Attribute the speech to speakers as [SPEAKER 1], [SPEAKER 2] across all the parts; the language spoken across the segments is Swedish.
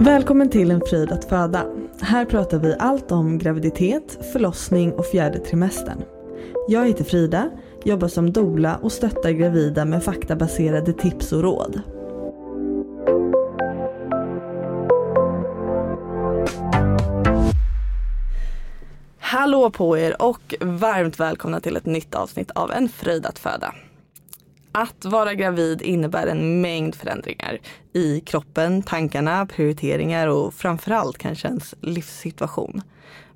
[SPEAKER 1] Välkommen till En frid att föda. Här pratar vi allt om graviditet, förlossning och fjärde trimestern. Jag heter Frida, jobbar som doula och stöttar gravida med faktabaserade tips och råd.
[SPEAKER 2] Hallå på er och varmt välkomna till ett nytt avsnitt av En fröjd att föda. Att vara gravid innebär en mängd förändringar i kroppen, tankarna, prioriteringar och framförallt kanske ens livssituation.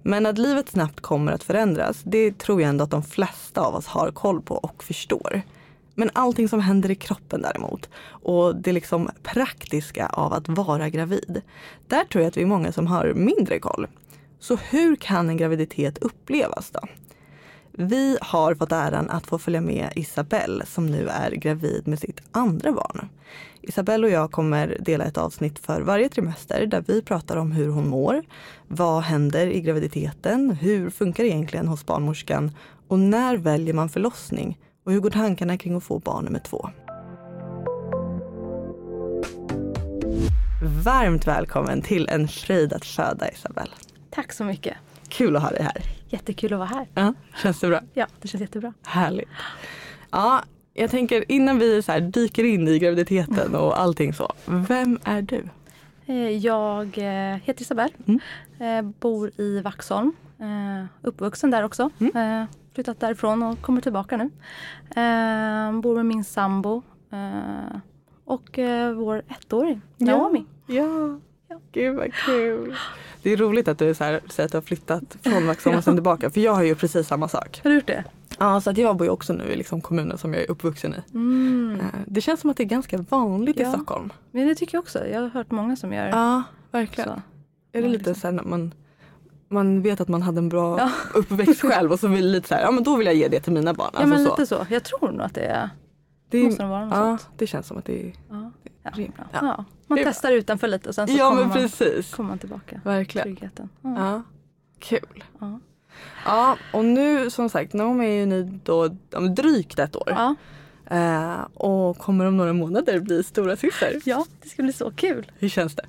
[SPEAKER 2] Men att livet snabbt kommer att förändras, det tror jag ändå att de flesta av oss har koll på och förstår. Men allting som händer i kroppen däremot och det liksom praktiska av att vara gravid, där tror jag att vi är många som har mindre koll. Så hur kan en graviditet upplevas då? Vi har fått äran att få följa med Isabelle som nu är gravid med sitt andra barn. Isabelle och jag kommer dela ett avsnitt för varje trimester där vi pratar om hur hon mår, vad händer i graviditeten, hur funkar det egentligen hos barnmorskan och när väljer man förlossning och hur går tankarna kring att få barn nummer två? Varmt välkommen till En fröjd att föda Isabelle.
[SPEAKER 3] Tack så mycket.
[SPEAKER 2] Kul att ha dig här.
[SPEAKER 3] Jättekul att vara här.
[SPEAKER 2] Ja, känns det bra?
[SPEAKER 3] Ja, det känns jättebra.
[SPEAKER 2] Härligt. Ja, jag tänker innan vi så här dyker in i graviditeten och allting så. Vem är du?
[SPEAKER 3] Eh, Jag eh, heter Isabel,
[SPEAKER 2] Mm.
[SPEAKER 3] eh, bor i Vaxholm, eh, uppvuxen där också.
[SPEAKER 2] Mm.
[SPEAKER 3] eh, Flyttat därifrån och kommer tillbaka nu. Eh, Bor med min sambo eh, och eh, vår ettåring Naomi.
[SPEAKER 2] Ja.
[SPEAKER 3] Ja.
[SPEAKER 2] Gud vad kul. Det är roligt att du så här, säger att du har flyttat från Vaxholm och sen tillbaka. För jag har ju precis samma sak.
[SPEAKER 3] Har du gjort det?
[SPEAKER 2] Ja, så att jag bor ju också nu i liksom kommunen som jag är uppvuxen i.
[SPEAKER 3] Mm.
[SPEAKER 2] Eh, Det känns som att det är ganska vanligt i
[SPEAKER 3] Ja.
[SPEAKER 2] Stockholm.
[SPEAKER 3] Men det tycker jag också. Jag har hört många som gör
[SPEAKER 2] Ja, verkligen.
[SPEAKER 3] så.
[SPEAKER 2] Är det
[SPEAKER 3] Ja,
[SPEAKER 2] lite
[SPEAKER 3] liksom.
[SPEAKER 2] så här när man, man vet att man hade en bra
[SPEAKER 3] Ja.
[SPEAKER 2] uppväxt själv och så vill lite så här, ja men då vill jag ge det till mina barn.
[SPEAKER 3] Ja, men
[SPEAKER 2] Alltså så.
[SPEAKER 3] lite så. Jag tror nog att det är,
[SPEAKER 2] Det är-
[SPEAKER 3] måste nog vara något
[SPEAKER 2] Ja,
[SPEAKER 3] sånt.
[SPEAKER 2] det känns som att det är
[SPEAKER 3] Ja. Ja.
[SPEAKER 2] rimligt. Ja.
[SPEAKER 3] Ja. Man
[SPEAKER 2] Det är bra.
[SPEAKER 3] testar utanför lite och sen så
[SPEAKER 2] Ja
[SPEAKER 3] kommer,
[SPEAKER 2] men
[SPEAKER 3] man,
[SPEAKER 2] precis.
[SPEAKER 3] kommer man tillbaka.
[SPEAKER 2] Verkligen.
[SPEAKER 3] Tryggheten.
[SPEAKER 2] Ja. Kul.
[SPEAKER 3] Ja.
[SPEAKER 2] Ja och nu som sagt Naomi är ju ni då om drygt ett år.
[SPEAKER 3] Ja.
[SPEAKER 2] Eh, och kommer om några månader bli stora syster.
[SPEAKER 3] ja, det ska bli så kul.
[SPEAKER 2] Hur känns det?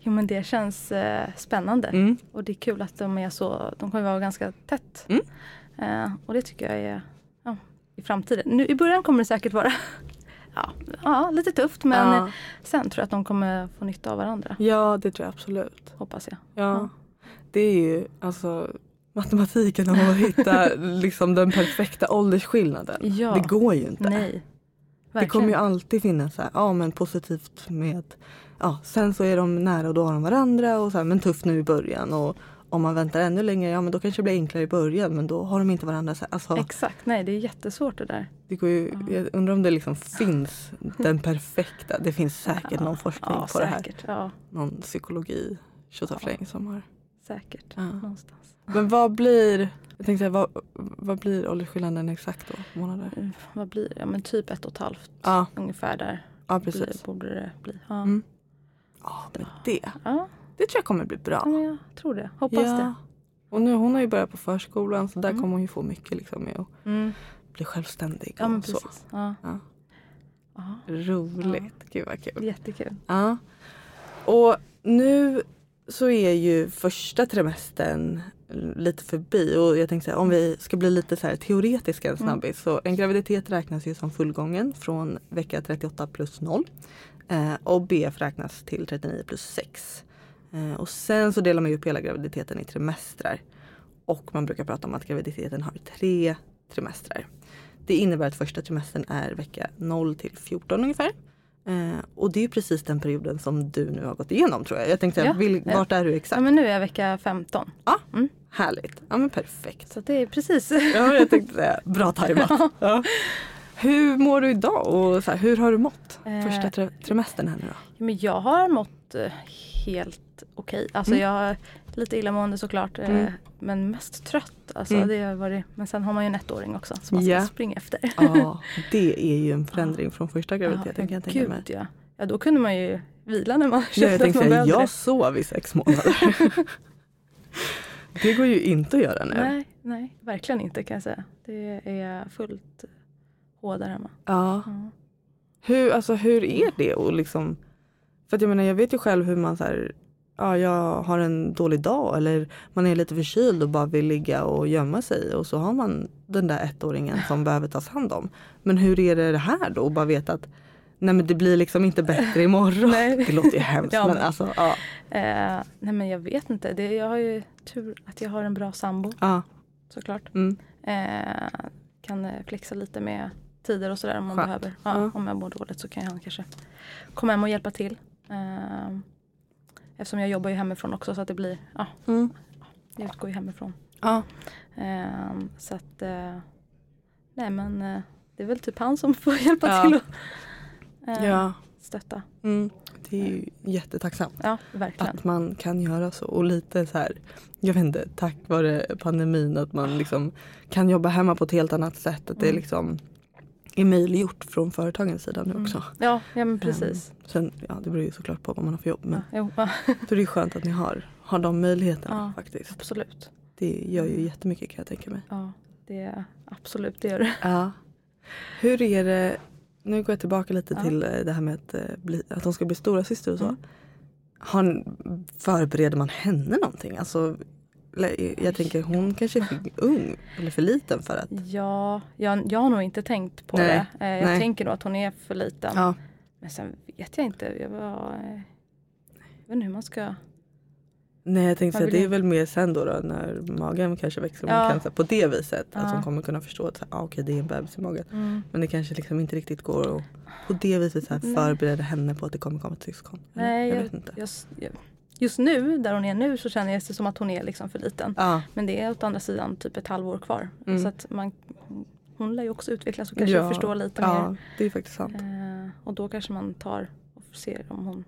[SPEAKER 3] Jo men det känns eh, spännande.
[SPEAKER 2] Mm.
[SPEAKER 3] Och det är kul att de är så, de kommer vara ganska tätt.
[SPEAKER 2] Mm.
[SPEAKER 3] Eh, och det tycker jag är ja, i framtiden. Nu, I början kommer det säkert vara ja, ja, lite tufft men
[SPEAKER 2] Ja.
[SPEAKER 3] eh, sen tror jag att de kommer få nytta av varandra.
[SPEAKER 2] Ja det tror jag absolut.
[SPEAKER 3] Hoppas jag.
[SPEAKER 2] Ja.
[SPEAKER 3] Ja.
[SPEAKER 2] Det är ju alltså matematiken om att hitta liksom den perfekta åldersskillnaden.
[SPEAKER 3] Ja.
[SPEAKER 2] Det går ju inte.
[SPEAKER 3] Nej.
[SPEAKER 2] Det kommer ju
[SPEAKER 3] Verkligen.
[SPEAKER 2] alltid finnas så här, ja men positivt med, ja sen så är de nära och då har de varandra och så här, men tufft nu i början och om man väntar ännu längre, ja men då kanske det blir enklare i början men då har de inte varandra. Så här, alltså,
[SPEAKER 3] Exakt, nej det är jättesvårt det där.
[SPEAKER 2] det går ju, jag undrar om det liksom finns den perfekta, det finns säkert någon forskning
[SPEAKER 3] Ja,
[SPEAKER 2] på det här.
[SPEAKER 3] säkert. Ja,
[SPEAKER 2] Någon psykologi tjotafläng som har.
[SPEAKER 3] säkert.
[SPEAKER 2] Ja.
[SPEAKER 3] Någonstans.
[SPEAKER 2] Men vad blir, jag tänkte säga, vad, vad blir åldersskillnaden exakt då? Månader?
[SPEAKER 3] Mm, Vad blir det? Ja, men typ ett och ett halvt
[SPEAKER 2] Ja,
[SPEAKER 3] ungefär där
[SPEAKER 2] ja
[SPEAKER 3] blir,
[SPEAKER 2] precis.
[SPEAKER 3] borde det bli. Ja.
[SPEAKER 2] Mm. Ja, men det,
[SPEAKER 3] Ja,
[SPEAKER 2] det tror jag kommer bli bra.
[SPEAKER 3] ja, men jag tror det. Hoppas det.
[SPEAKER 2] Och nu, hon har ju börjat på förskolan så där
[SPEAKER 3] Mm.
[SPEAKER 2] kommer hon ju få mycket liksom, med att
[SPEAKER 3] Mm.
[SPEAKER 2] bli självständig.
[SPEAKER 3] Ja, men
[SPEAKER 2] och så.
[SPEAKER 3] precis. Ja.
[SPEAKER 2] Ja.
[SPEAKER 3] Ja.
[SPEAKER 2] Roligt, gud vad kul.
[SPEAKER 3] Jättekul.
[SPEAKER 2] Ja. Och nu så är ju första trimestern lite förbi och jag tänkte säga om vi ska bli lite så här teoretiska en snabbis så en graviditet räknas ju som fullgången från vecka 38 plus 0 eh, och BF räknas till 39 plus 6. Eh, och sen så delar man ju upp hela graviditeten i trimestrar och man brukar prata om att graviditeten har tre trimestrar. Det innebär att första trimestern är vecka 0 till 14 ungefär. Eh, och det är ju precis den perioden som du nu har gått igenom tror jag. Jag tänkte,
[SPEAKER 3] Ja.
[SPEAKER 2] vil, vart är du
[SPEAKER 3] Ja,
[SPEAKER 2] exakt?
[SPEAKER 3] men nu är jag vecka 15.
[SPEAKER 2] Härligt. Ja men perfekt.
[SPEAKER 3] Så att det är precis.
[SPEAKER 2] Ja, jag tänkte säga, bra tajmat. Ja. Hur mår du idag och så här, hur har du mått
[SPEAKER 3] Eh.
[SPEAKER 2] första tri- trimestern här nu då?
[SPEAKER 3] men jag har mått eh, helt okej. Alltså
[SPEAKER 2] Mm.
[SPEAKER 3] jag har lite illamående såklart. eh,
[SPEAKER 2] Mm.
[SPEAKER 3] Men mest trött. Alltså,
[SPEAKER 2] Mm.
[SPEAKER 3] det har varit, men sen har man ju en ettåring också som man ska
[SPEAKER 2] Ja.
[SPEAKER 3] springa efter.
[SPEAKER 2] Ja, det är ju en förändring från första graviditeten
[SPEAKER 3] men
[SPEAKER 2] kan jag tänka mig.
[SPEAKER 3] gud, ja. ja, då kunde man ju vila när man
[SPEAKER 2] Ja,
[SPEAKER 3] kände
[SPEAKER 2] jag
[SPEAKER 3] att
[SPEAKER 2] tänkte
[SPEAKER 3] man
[SPEAKER 2] säga,
[SPEAKER 3] behövde
[SPEAKER 2] jag
[SPEAKER 3] det.
[SPEAKER 2] sov i sex månader. det går ju inte att göra nu.
[SPEAKER 3] Nej, Nej, verkligen inte kan jag säga. Det är fullt hå där hemma.
[SPEAKER 2] Ja.
[SPEAKER 3] Ja.
[SPEAKER 2] Hur, alltså, hur är det? Och liksom, för att jag menar jag vet ju själv hur man så här, ja, jag har en dålig dag eller man är lite förkyld och bara vill ligga och gömma sig och så har man den där ettåringen som behöver tas hand om. Men hur är det här då? Och bara veta att nej men det blir liksom inte bättre imorgon.
[SPEAKER 3] Nej.
[SPEAKER 2] Det låter ju hemskt
[SPEAKER 3] Ja,
[SPEAKER 2] men
[SPEAKER 3] men-
[SPEAKER 2] alltså ja.
[SPEAKER 3] Eh, nej men jag vet inte. Det, jag har ju tur att jag har en bra sambo
[SPEAKER 2] ja.
[SPEAKER 3] såklart.
[SPEAKER 2] Mm.
[SPEAKER 3] Eh, kan eh, flexa lite med tider och sådär om man
[SPEAKER 2] Skönt.
[SPEAKER 3] behöver. Ja,
[SPEAKER 2] Ja.
[SPEAKER 3] Om jag mår dåligt så kan han kanske komma hem och hjälpa till. Eh, eftersom jag jobbar ju hemifrån också så att det blir, ja,
[SPEAKER 2] Mm.
[SPEAKER 3] jag utgår ju hemifrån.
[SPEAKER 2] ja.
[SPEAKER 3] Eh, så att, eh, nej men eh, det är väl typ han som får hjälpa
[SPEAKER 2] Ja.
[SPEAKER 3] till och eh,
[SPEAKER 2] ja.
[SPEAKER 3] stötta.
[SPEAKER 2] Mm. Det är ju jättetacksamt.
[SPEAKER 3] Ja, verkligen.
[SPEAKER 2] Att man kan göra så och lite så här, jag vet inte, tack vare pandemin att man liksom kan jobba hemma på ett helt annat sätt. Att det
[SPEAKER 3] Mm.
[SPEAKER 2] liksom är möjliggjort från företagens sida nu också.
[SPEAKER 3] Mm. Ja, ja men precis.
[SPEAKER 2] Ehm, sen, ja, det beror ju såklart på vad man har för jobb men
[SPEAKER 3] Ja, jo, ja,
[SPEAKER 2] då är det ju skönt att ni har, har de möjligheterna
[SPEAKER 3] Ja.
[SPEAKER 2] faktiskt.
[SPEAKER 3] absolut.
[SPEAKER 2] Det gör ju jättemycket kan jag tänka mig.
[SPEAKER 3] Ja, det, absolut det gör det.
[SPEAKER 2] Ja. Hur är det, nu går jag tillbaka lite
[SPEAKER 3] Ja.
[SPEAKER 2] till eh, det här med att, eh, bli, att de ska bli stora syster och så.
[SPEAKER 3] Mm.
[SPEAKER 2] Har, förbereder man henne någonting? Alltså, eller, jag tänker hon kanske är för ung eller för liten för att.
[SPEAKER 3] Ja, jag, jag har nog inte tänkt på
[SPEAKER 2] Nej,
[SPEAKER 3] det. Eh, Jag
[SPEAKER 2] nej.
[SPEAKER 3] tänker nog att hon är för liten.
[SPEAKER 2] Ja.
[SPEAKER 3] Men sen vet jag inte. Jag, var, eh, jag vet inte hur man ska...
[SPEAKER 2] Nej jag tänkte
[SPEAKER 3] Man
[SPEAKER 2] säga
[SPEAKER 3] vill
[SPEAKER 2] det
[SPEAKER 3] ju-
[SPEAKER 2] är väl mer sen då, då när magen kanske växer.
[SPEAKER 3] Ja.
[SPEAKER 2] Man kan, så här, på det viset
[SPEAKER 3] Ja.
[SPEAKER 2] att hon kommer kunna förstå att så här, ah, okej det är en bebis i magen. Men det kanske liksom inte riktigt går att på det viset så här,
[SPEAKER 3] Nej.
[SPEAKER 2] förbereda henne på att det kommer komma ett syskon. Eller?
[SPEAKER 3] Nej,
[SPEAKER 2] jag,
[SPEAKER 3] jag-
[SPEAKER 2] vet inte.
[SPEAKER 3] Just, just nu, där hon är nu, så känner jag det som att hon är liksom för liten.
[SPEAKER 2] Ja.
[SPEAKER 3] Men det är åt andra sidan typ ett halvår kvar.
[SPEAKER 2] Mm.
[SPEAKER 3] Så att man, hon lär ju också utvecklas och kanske
[SPEAKER 2] Ja,
[SPEAKER 3] förstå lite
[SPEAKER 2] ja, det är faktiskt sant.
[SPEAKER 3] mer. Eh, och då kanske man tar och ser om hon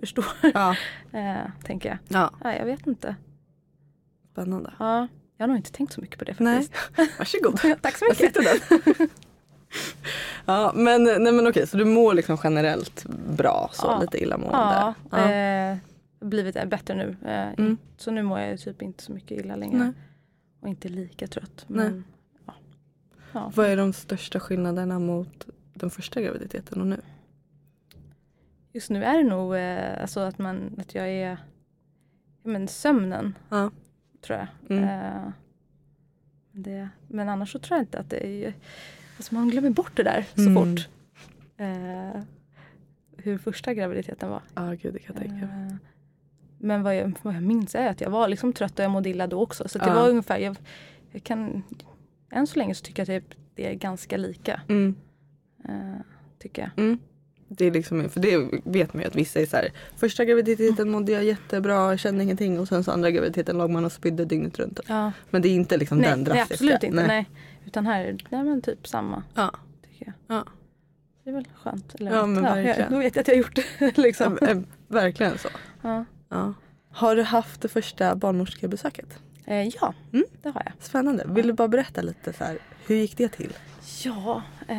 [SPEAKER 3] förstår,
[SPEAKER 2] Ja.
[SPEAKER 3] eh, tänker jag.
[SPEAKER 2] ja.
[SPEAKER 3] Nej, jag vet inte.
[SPEAKER 2] Spännande.
[SPEAKER 3] Ja, jag har nog inte tänkt så mycket på det
[SPEAKER 2] Nej.
[SPEAKER 3] faktiskt.
[SPEAKER 2] Varsågod.
[SPEAKER 3] Tack så
[SPEAKER 2] Jag
[SPEAKER 3] mycket.
[SPEAKER 2] sitter där. ja men, nej, men okej så du mår liksom generellt bra så
[SPEAKER 3] Ja.
[SPEAKER 2] lite illamående.
[SPEAKER 3] Ja,
[SPEAKER 2] Ja.
[SPEAKER 3] Eh, blivit bättre nu. Eh,
[SPEAKER 2] Mm.
[SPEAKER 3] Så nu mår jag ju typ inte så mycket illa längre.
[SPEAKER 2] Nej.
[SPEAKER 3] Och inte lika trött.
[SPEAKER 2] Nej.
[SPEAKER 3] Men, ja. Ja.
[SPEAKER 2] Vad är de största skillnaderna mot den första graviditeten och nu?
[SPEAKER 3] Just nu är det nog eh, alltså att, man, att jag är ja, men sömnen
[SPEAKER 2] Ja.
[SPEAKER 3] tror jag.
[SPEAKER 2] Mm.
[SPEAKER 3] Eh, det, men annars så tror jag inte att det är ju, alltså man glömmer bort det där så
[SPEAKER 2] Mm.
[SPEAKER 3] fort. Eh, hur första graviditeten var.
[SPEAKER 2] Ja gud det kan jag tänka mig.
[SPEAKER 3] Eh, Men vad jag, vad jag minns är att jag var liksom trött och jag mådde illa då också. Så att det
[SPEAKER 2] Ja.
[SPEAKER 3] var ungefär, jag, jag kan, än så länge så tycker jag att det är ganska lika.
[SPEAKER 2] Mm.
[SPEAKER 3] eh, tycker jag.
[SPEAKER 2] Mm. Det är liksom, för det vet man ju att vissa är så här. Första graviditeten mådde jag jättebra, kände ingenting och sen så andra graviditeten låg man och spydde dygnet runt. Men det är inte liksom
[SPEAKER 3] Nej,
[SPEAKER 2] den
[SPEAKER 3] nej,
[SPEAKER 2] drastiska.
[SPEAKER 3] absolut inte. Nej. Utan här, nej men typ samma
[SPEAKER 2] Ja.
[SPEAKER 3] tycker jag.
[SPEAKER 2] Ja.
[SPEAKER 3] Det är väl skönt. Eller
[SPEAKER 2] Ja,
[SPEAKER 3] något.
[SPEAKER 2] men
[SPEAKER 3] jag,
[SPEAKER 2] verkligen.
[SPEAKER 3] då vet jag att jag har gjort det. liksom.
[SPEAKER 2] Ja, men, Verkligen så.
[SPEAKER 3] ja.
[SPEAKER 2] Ja. Har du haft det första barnmorskebesöket?
[SPEAKER 3] Eh, ja,
[SPEAKER 2] Mm.
[SPEAKER 3] det har jag.
[SPEAKER 2] Spännande. Vill du bara berätta lite så här, hur gick det till?
[SPEAKER 3] Ja, eh,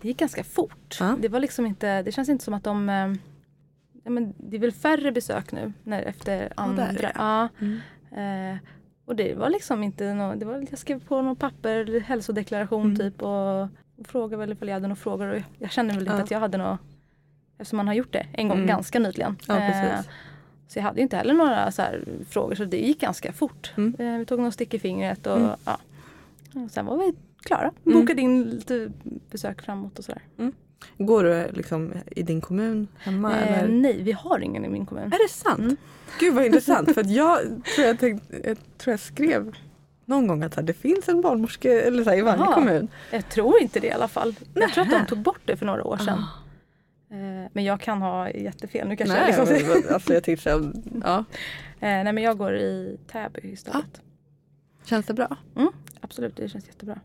[SPEAKER 3] det gick ganska fort.
[SPEAKER 2] Ja.
[SPEAKER 3] Det, var liksom inte, det känns inte som att de... Eh, ja, men det är väl färre besök nu när, efter andra.
[SPEAKER 2] där är det. Mm.
[SPEAKER 3] ja, eh, och det var liksom inte nå- det var, Jag skrev på något papper, hälsodeklaration
[SPEAKER 2] Mm.
[SPEAKER 3] typ och, och frågade väl ifall jag hade några frågor. Och jag kände väl inte
[SPEAKER 2] Ja.
[SPEAKER 3] att jag hade något Eftersom man har gjort det en gång
[SPEAKER 2] Mm.
[SPEAKER 3] ganska nyligen.
[SPEAKER 2] Ja,
[SPEAKER 3] Eh,
[SPEAKER 2] precis.
[SPEAKER 3] så jag hade ju inte heller några så här frågor så det gick ganska fort.
[SPEAKER 2] Mm.
[SPEAKER 3] Eh, Vi tog någon stick i fingret och
[SPEAKER 2] Mm.
[SPEAKER 3] ja. Och sen var vi klara.
[SPEAKER 2] Mm.
[SPEAKER 3] Bokade in lite besök framåt och sådär.
[SPEAKER 2] Går du liksom i din kommun hemma
[SPEAKER 3] Eh,
[SPEAKER 2] eller?
[SPEAKER 3] nej, vi har ingen i min kommun.
[SPEAKER 2] Är det sant?
[SPEAKER 3] Mm.
[SPEAKER 2] Gud vad intressant för att jag tror jag, tänkte, jag, tror jag skrev någon gång att så här, det finns en barnmorske eller så här, i varje
[SPEAKER 3] Jaha.
[SPEAKER 2] kommun.
[SPEAKER 3] Jag tror inte det i alla fall. Jag tror att de
[SPEAKER 2] Nähä. Ah.
[SPEAKER 3] tog bort det för några år sedan. Eh, men jag kan ha jättefel. Nu kanske
[SPEAKER 2] Nej,
[SPEAKER 3] jag liksom...
[SPEAKER 2] men, alltså, jag tänkte, så här, ja.
[SPEAKER 3] eh, nej men jag går i Täby istället.
[SPEAKER 2] Ah. Känns det bra?
[SPEAKER 3] Absolut, det känns jättebra.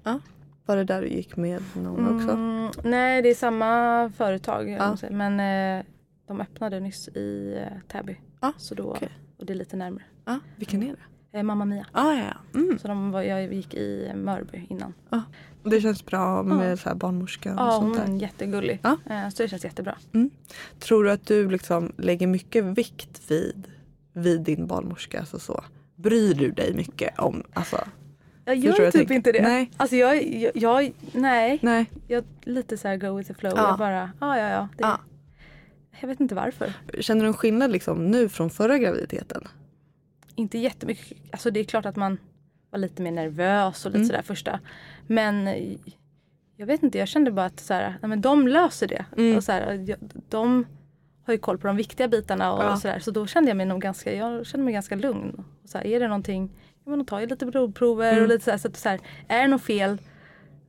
[SPEAKER 2] Var det där du gick med någon också? Ah.
[SPEAKER 3] Mm, nej, det är samma företag.
[SPEAKER 2] Ja.
[SPEAKER 3] Ja. Men eh, de öppnade nyss i eh, Täby.
[SPEAKER 2] Ja,
[SPEAKER 3] Så då,
[SPEAKER 2] Ah, okej.
[SPEAKER 3] Och det är lite närmare.
[SPEAKER 2] Ja, vilken är det?
[SPEAKER 3] Eh, Mamma Mia.
[SPEAKER 2] Ah, ja, ja. Mm.
[SPEAKER 3] Så de var, jag gick i Mörby innan.
[SPEAKER 2] Ah. Det känns bra med
[SPEAKER 3] Ja.
[SPEAKER 2] så här, barnmorskan och
[SPEAKER 3] Ja,
[SPEAKER 2] sånt
[SPEAKER 3] hon
[SPEAKER 2] där.
[SPEAKER 3] är jättegullig.
[SPEAKER 2] Ja.
[SPEAKER 3] Eh, Så det känns jättebra.
[SPEAKER 2] Mm. Tror du att du liksom lägger mycket vikt vid, vid din barnmorska? Alltså så? Bryr du dig mycket om... Alltså,
[SPEAKER 3] Jag gör
[SPEAKER 2] Förstår jag
[SPEAKER 3] typ
[SPEAKER 2] tänker?
[SPEAKER 3] inte det.
[SPEAKER 2] Nej.
[SPEAKER 3] Alltså jag, jag, jag nej.
[SPEAKER 2] Nej.
[SPEAKER 3] Jag lite så här go with the flow.
[SPEAKER 2] Ja.
[SPEAKER 3] Jag bara, ja ja ja. Det,
[SPEAKER 2] Ja.
[SPEAKER 3] Jag vet inte varför.
[SPEAKER 2] Känner du en skillnad liksom nu från förra graviditeten?
[SPEAKER 3] Inte jättemycket. Alltså det är klart att man var lite mer nervös och lite
[SPEAKER 2] Mm.
[SPEAKER 3] sådär första. Men eh, jag vet inte, jag kände bara att så här, nej, men de löser det.
[SPEAKER 2] Mm.
[SPEAKER 3] Och så här, jag- de har ju koll på de viktiga bitarna och,
[SPEAKER 2] Ja.
[SPEAKER 3] och sådär. Så då kände jag mig nog ganska, jag kände mig ganska lugn. Och så här, är det någonting, ja men de tar ju lite blodprover
[SPEAKER 2] Mm.
[SPEAKER 3] och lite sådär. Så att så här, är det något fel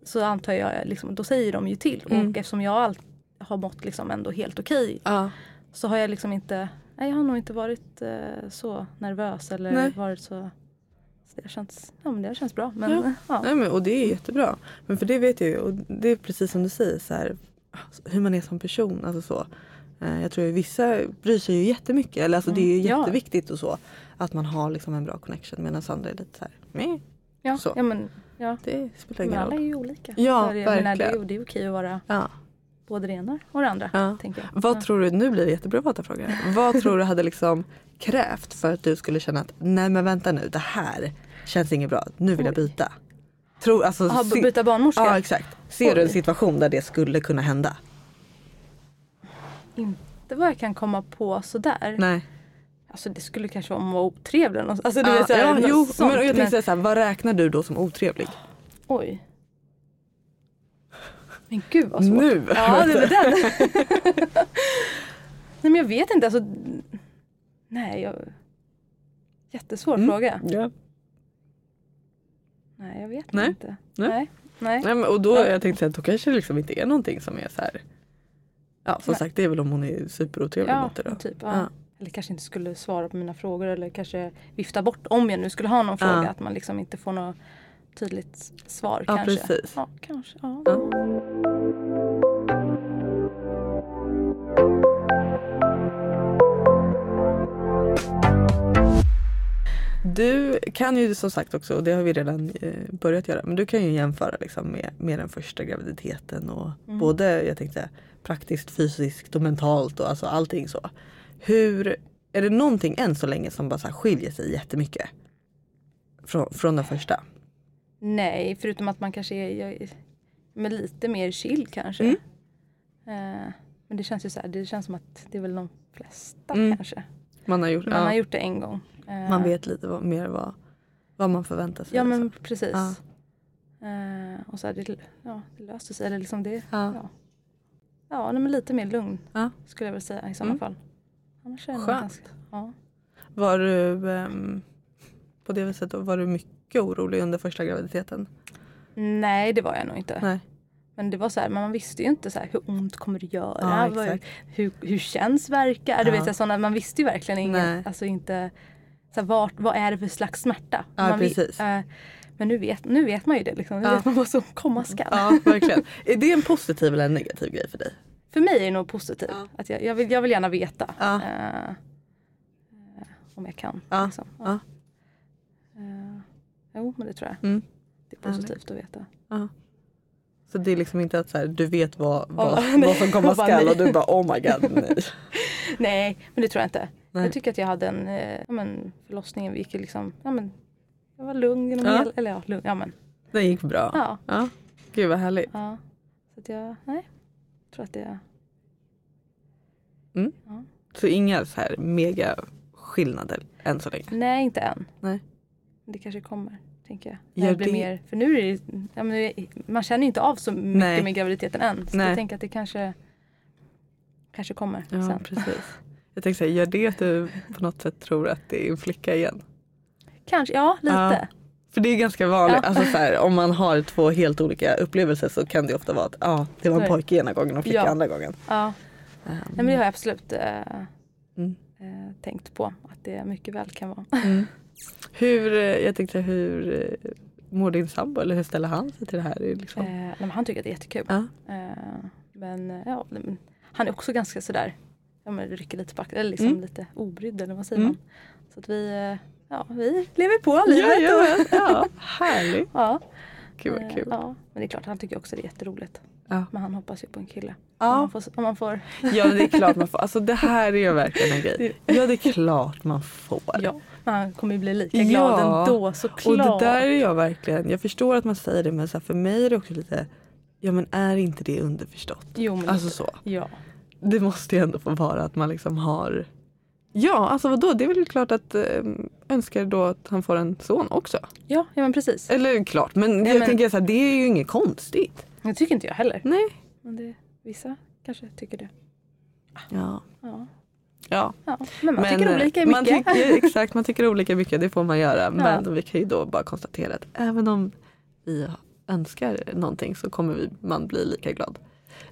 [SPEAKER 3] så antar jag, liksom, då säger de ju till.
[SPEAKER 2] Mm.
[SPEAKER 3] Och eftersom jag all, har mått liksom ändå helt okej
[SPEAKER 2] Ja.
[SPEAKER 3] så har jag liksom inte, nej jag har nog inte varit eh, så nervös eller
[SPEAKER 2] Nej.
[SPEAKER 3] varit så, så det, har känts, ja, men det har känts bra. Men, ja.
[SPEAKER 2] Nej, men, och det är jättebra. Men för det vet jag ju, och det är precis som du säger, så här, hur man är som person. Alltså så. Eh, Jag tror att vissa bryr sig ju jättemycket, eller alltså det är ju
[SPEAKER 3] Mm, ja.
[SPEAKER 2] jätteviktigt och så. Att man har liksom en bra connection medan andra är lite så här, nej,
[SPEAKER 3] Ja,
[SPEAKER 2] Så.
[SPEAKER 3] ja, men, ja.
[SPEAKER 2] det spelar
[SPEAKER 3] men
[SPEAKER 2] ingen
[SPEAKER 3] alla är
[SPEAKER 2] roll.
[SPEAKER 3] ju olika.
[SPEAKER 2] Ja,
[SPEAKER 3] Så det, jag menar, det, är
[SPEAKER 2] verkligen.
[SPEAKER 3] ju- det är okej att vara
[SPEAKER 2] Ja.
[SPEAKER 3] både det ena och det andra.
[SPEAKER 2] Ja.
[SPEAKER 3] Tänker jag.
[SPEAKER 2] Vad
[SPEAKER 3] ja.
[SPEAKER 2] tror du, nu blir det jätteprivata frågor. här. Vad tror du hade liksom krävt för att du skulle känna att nej men vänta nu, det här känns inget bra, nu vill jag
[SPEAKER 3] Oj.
[SPEAKER 2] byta. Tror, alltså,
[SPEAKER 3] Aha,
[SPEAKER 2] se-
[SPEAKER 3] byta barnmorska?
[SPEAKER 2] Ja exakt. Ser du en
[SPEAKER 3] Oj.
[SPEAKER 2] situation där det skulle kunna hända?
[SPEAKER 3] Inte vad jag kan komma på sådär.
[SPEAKER 2] Nej.
[SPEAKER 3] Alltså det skulle kanske vara att vara otrevlig eller något. Alltså, du
[SPEAKER 2] Ja,
[SPEAKER 3] vet, såhär,
[SPEAKER 2] ja,
[SPEAKER 3] något
[SPEAKER 2] jo,
[SPEAKER 3] sånt,
[SPEAKER 2] men jag tänkte säga så här, vad räknar du då som otrevlig?
[SPEAKER 3] Oj. Men gud vad svårt.
[SPEAKER 2] Nu!
[SPEAKER 3] Ja, det var den. Nej men jag vet inte. Alltså, nej, jag... Jättesvår
[SPEAKER 2] Mm.
[SPEAKER 3] fråga.
[SPEAKER 2] Ja.
[SPEAKER 3] Nej, jag vet
[SPEAKER 2] Nej.
[SPEAKER 3] inte.
[SPEAKER 2] Nej.
[SPEAKER 3] Nej. Nej.
[SPEAKER 2] Nej, men, och då
[SPEAKER 3] Ja.
[SPEAKER 2] jag tänkte att då kanske det liksom inte är någonting som är så här. Ja som
[SPEAKER 3] Nej.
[SPEAKER 2] sagt det är väl om hon är superotrevlig
[SPEAKER 3] Ja,
[SPEAKER 2] mot dig då.
[SPEAKER 3] typ. Ja.
[SPEAKER 2] Ja.
[SPEAKER 3] Eller kanske inte skulle svara på mina frågor eller kanske vifta bort om jag nu skulle ha någon fråga.
[SPEAKER 2] Ja.
[SPEAKER 3] Att man liksom inte får något tydligt svar
[SPEAKER 2] Ja,
[SPEAKER 3] kanske.
[SPEAKER 2] precis.
[SPEAKER 3] Ja, kanske. Ja.
[SPEAKER 2] Ja. Du kan ju som sagt också, och det har vi redan eh, börjat göra, men du kan ju jämföra liksom med, med den första graviditeten och
[SPEAKER 3] Mm.
[SPEAKER 2] både jag tänkte praktiskt, fysiskt och mentalt och alltså allting så. Hur, är det någonting än så länge som bara så här skiljer sig jättemycket? Från, från den första?
[SPEAKER 3] Nej, förutom att man kanske är, jag, är- men lite mer chill kanske.
[SPEAKER 2] Mm.
[SPEAKER 3] Eh, men det känns ju så här, det känns som att det är väl de flesta
[SPEAKER 2] Mm.
[SPEAKER 3] kanske.
[SPEAKER 2] Man har gjort,
[SPEAKER 3] Man
[SPEAKER 2] ja,
[SPEAKER 3] har gjort det en gång. Eh,
[SPEAKER 2] man vet lite vad, mer vad, vad man förväntar sig.
[SPEAKER 3] Ja men
[SPEAKER 2] liksom.
[SPEAKER 3] precis.
[SPEAKER 2] Ja.
[SPEAKER 3] Eh, och så här, det, ja, det löste sig. Eller liksom det,
[SPEAKER 2] Ja.
[SPEAKER 3] ja. Ja, nej, men lite mer lugn
[SPEAKER 2] Ja.
[SPEAKER 3] skulle jag väl säga i sådana
[SPEAKER 2] Mm.
[SPEAKER 3] fall. Annars är det nog
[SPEAKER 2] Skönt.
[SPEAKER 3] ganska- ja.
[SPEAKER 2] Var du ehm, på det viset då, var du mycket orolig under första graviditeten?
[SPEAKER 3] Nej, det var jag nog inte.
[SPEAKER 2] Nej.
[SPEAKER 3] Men det var så här, men man visste ju inte så här, hur ont kommer det göra?
[SPEAKER 2] Ja,
[SPEAKER 3] Vad-
[SPEAKER 2] exakt.
[SPEAKER 3] hur, hur känns verkar? Du
[SPEAKER 2] Ja.
[SPEAKER 3] vet, så här, sådana, man visste ju verkligen
[SPEAKER 2] Nej.
[SPEAKER 3] inget. Alltså inte, så här, vart, vad är det för slags smärta?
[SPEAKER 2] Ja,
[SPEAKER 3] man vi-
[SPEAKER 2] precis.
[SPEAKER 3] eh, men nu vet, nu vet man ju det. Liksom. Nu
[SPEAKER 2] Ja.
[SPEAKER 3] vet man vad som komma skall.
[SPEAKER 2] Ja verkligen. Är det en positiv eller en negativ grej för dig?
[SPEAKER 3] För mig är det nog positivt.
[SPEAKER 2] Ja.
[SPEAKER 3] Att jag, jag, vill, jag vill gärna veta.
[SPEAKER 2] Ja.
[SPEAKER 3] eh, eh, om jag kan.
[SPEAKER 2] Ja.
[SPEAKER 3] Liksom.
[SPEAKER 2] Ja.
[SPEAKER 3] Eh, jo, men det tror jag.
[SPEAKER 2] Mm.
[SPEAKER 3] Det är positivt att veta.
[SPEAKER 2] Så det är liksom inte att så här, du vet vad, vad,
[SPEAKER 3] Ja, nej.
[SPEAKER 2] vad som komma
[SPEAKER 3] Jag bara,
[SPEAKER 2] skall
[SPEAKER 3] nej.
[SPEAKER 2] och du bara oh my god nej.
[SPEAKER 3] Nej, men det tror jag inte.
[SPEAKER 2] Nej.
[SPEAKER 3] Jag tycker att jag hade en eh, ja, men förlossningen, vi gick ju liksom, ja, men, jag var lugn genom
[SPEAKER 2] Ja.
[SPEAKER 3] hela, eller ja, lugn, ja men
[SPEAKER 2] Det gick bra. Ja.
[SPEAKER 3] ja.
[SPEAKER 2] Gud vad härligt.
[SPEAKER 3] ja. Så att jag, nej, jag tror att det,
[SPEAKER 2] Så inga så här mega skillnader än så länge.
[SPEAKER 3] nej inte än.
[SPEAKER 2] Nej.
[SPEAKER 3] Men Det kanske kommer, tänker jag.
[SPEAKER 2] Gör
[SPEAKER 3] När det blir
[SPEAKER 2] det-
[SPEAKER 3] mer, för nu är det, ju- ja, men, nu är- man känner ju inte av så mycket
[SPEAKER 2] Nej.
[SPEAKER 3] med graviditeten än. Så
[SPEAKER 2] Nej.
[SPEAKER 3] jag tänker att det kanske, kanske kommer
[SPEAKER 2] Ja
[SPEAKER 3] sen.
[SPEAKER 2] precis. Jag tänkte säga, gör det att du på något sätt tror att det är en flicka igen?
[SPEAKER 3] Kanske, ja lite.
[SPEAKER 2] För det är ganska vanligt,
[SPEAKER 3] Ja.
[SPEAKER 2] alltså så här, om man har två helt olika upplevelser så kan det ofta vara att ja, det var en
[SPEAKER 3] Nej.
[SPEAKER 2] pojke ena gången och flicka
[SPEAKER 3] Ja.
[SPEAKER 2] andra gången.
[SPEAKER 3] Ja.
[SPEAKER 2] Ehm,
[SPEAKER 3] Nej, men det har jag absolut eh,
[SPEAKER 2] Mm.
[SPEAKER 3] eh, tänkt på att det mycket väl kan vara.
[SPEAKER 2] Mm. Hur, eh, jag tänkte hur eh, mår din sambo eller hur ställer han sig till det här? Det är Liksom?
[SPEAKER 3] Eh, nej, men han tycker att det är jättekul.
[SPEAKER 2] Ja.
[SPEAKER 3] Eh, men eh, ja, nej, men han är också ganska sådär, ja men rycker lite på axlarna, eller liksom
[SPEAKER 2] Mm.
[SPEAKER 3] lite obrydd eller vad säger
[SPEAKER 2] Mm.
[SPEAKER 3] man. Så att vi, eh, ja vi lever på livet.
[SPEAKER 2] Jajamän, ja, härligt.
[SPEAKER 3] Ja,
[SPEAKER 2] Gud
[SPEAKER 3] eh,
[SPEAKER 2] vad kul. Eh,
[SPEAKER 3] ja, men det är klart han tycker också det är jätteroligt.
[SPEAKER 2] Ja.
[SPEAKER 3] Men han hoppas ju på en kille. Om,
[SPEAKER 2] Ja.
[SPEAKER 3] man får, om man får.
[SPEAKER 2] ja, det är klart man får. Alltså det här är ju verkligen en grej. Ja, det är klart man får.
[SPEAKER 3] Ja, men han kommer ju bli lika
[SPEAKER 2] Ja.
[SPEAKER 3] glad ändå
[SPEAKER 2] Och
[SPEAKER 3] såklart.
[SPEAKER 2] det där är jag verkligen, jag förstår att man säger det men så här, för mig är det också lite, ja men är inte det underförstått?
[SPEAKER 3] Jo, men
[SPEAKER 2] Alltså så.
[SPEAKER 3] ja.
[SPEAKER 2] Det måste ju ändå få vara att man liksom har Ja, alltså vadå? Det är väl klart att eh, önskar då att han får en son också.
[SPEAKER 3] Ja, ja, men precis.
[SPEAKER 2] Eller klart, men jag
[SPEAKER 3] men-
[SPEAKER 2] tänker så här, det är ju inget konstigt.
[SPEAKER 3] Det tycker inte jag heller.
[SPEAKER 2] Nej.
[SPEAKER 3] Men det, vissa kanske tycker det.
[SPEAKER 2] Ja.
[SPEAKER 3] Ja.
[SPEAKER 2] ja. eh,
[SPEAKER 3] Ja, men man tycker olika i
[SPEAKER 2] man
[SPEAKER 3] mycket.
[SPEAKER 2] tycker, exakt, man tycker olika i mycket, det får man göra. Men
[SPEAKER 3] Ja.
[SPEAKER 2] vi kan ju då bara konstatera att även om vi önskar någonting så kommer vi, man bli lika glad.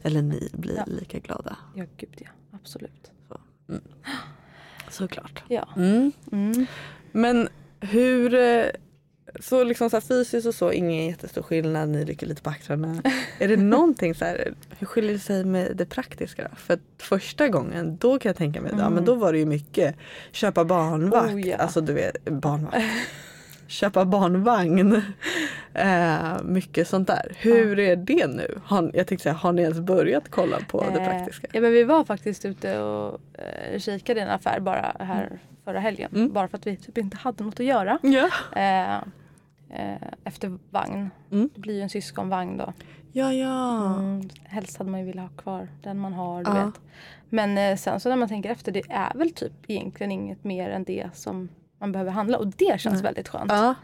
[SPEAKER 2] Eller ni blir
[SPEAKER 3] Ja.
[SPEAKER 2] lika glada.
[SPEAKER 3] Ja, gud ja. Absolut.
[SPEAKER 2] Såklart.
[SPEAKER 3] Ja.
[SPEAKER 2] Mm.
[SPEAKER 3] Mm.
[SPEAKER 2] Men hur, eh, så liksom så här fysiskt och så, ingen jättestor skillnad, ni rycker lite på axlarna. Är det någonting så här, hur skiljer det sig med det praktiska då? För att första gången, då kan jag tänka mig, ja men då var det ju mycket köpa barnvakt,
[SPEAKER 3] Oh, ja.
[SPEAKER 2] alltså du vet barnvakt. köpa barnvagn. Eh, mycket sånt där. Hur är det nu? Har, jag tänkte säga, har ni ens börjat kolla på det
[SPEAKER 3] Eh,
[SPEAKER 2] praktiska?
[SPEAKER 3] Ja, men vi var faktiskt ute och eh, kikade i en affär bara här förra helgen.
[SPEAKER 2] Mm.
[SPEAKER 3] Bara för att vi typ inte hade något att göra.
[SPEAKER 2] Ja.
[SPEAKER 3] Eh, eh, efter vagn.
[SPEAKER 2] Mm.
[SPEAKER 3] Det blir ju en syskonvagn då.
[SPEAKER 2] Ja, ja.
[SPEAKER 3] Mm. Helst hade man ju velat ha kvar den man har. Du
[SPEAKER 2] Ja.
[SPEAKER 3] vet. Men eh, sen så när man tänker efter, det är väl typ egentligen inget mer än det som man behöver handla. Och det känns väldigt skönt.
[SPEAKER 2] Ja.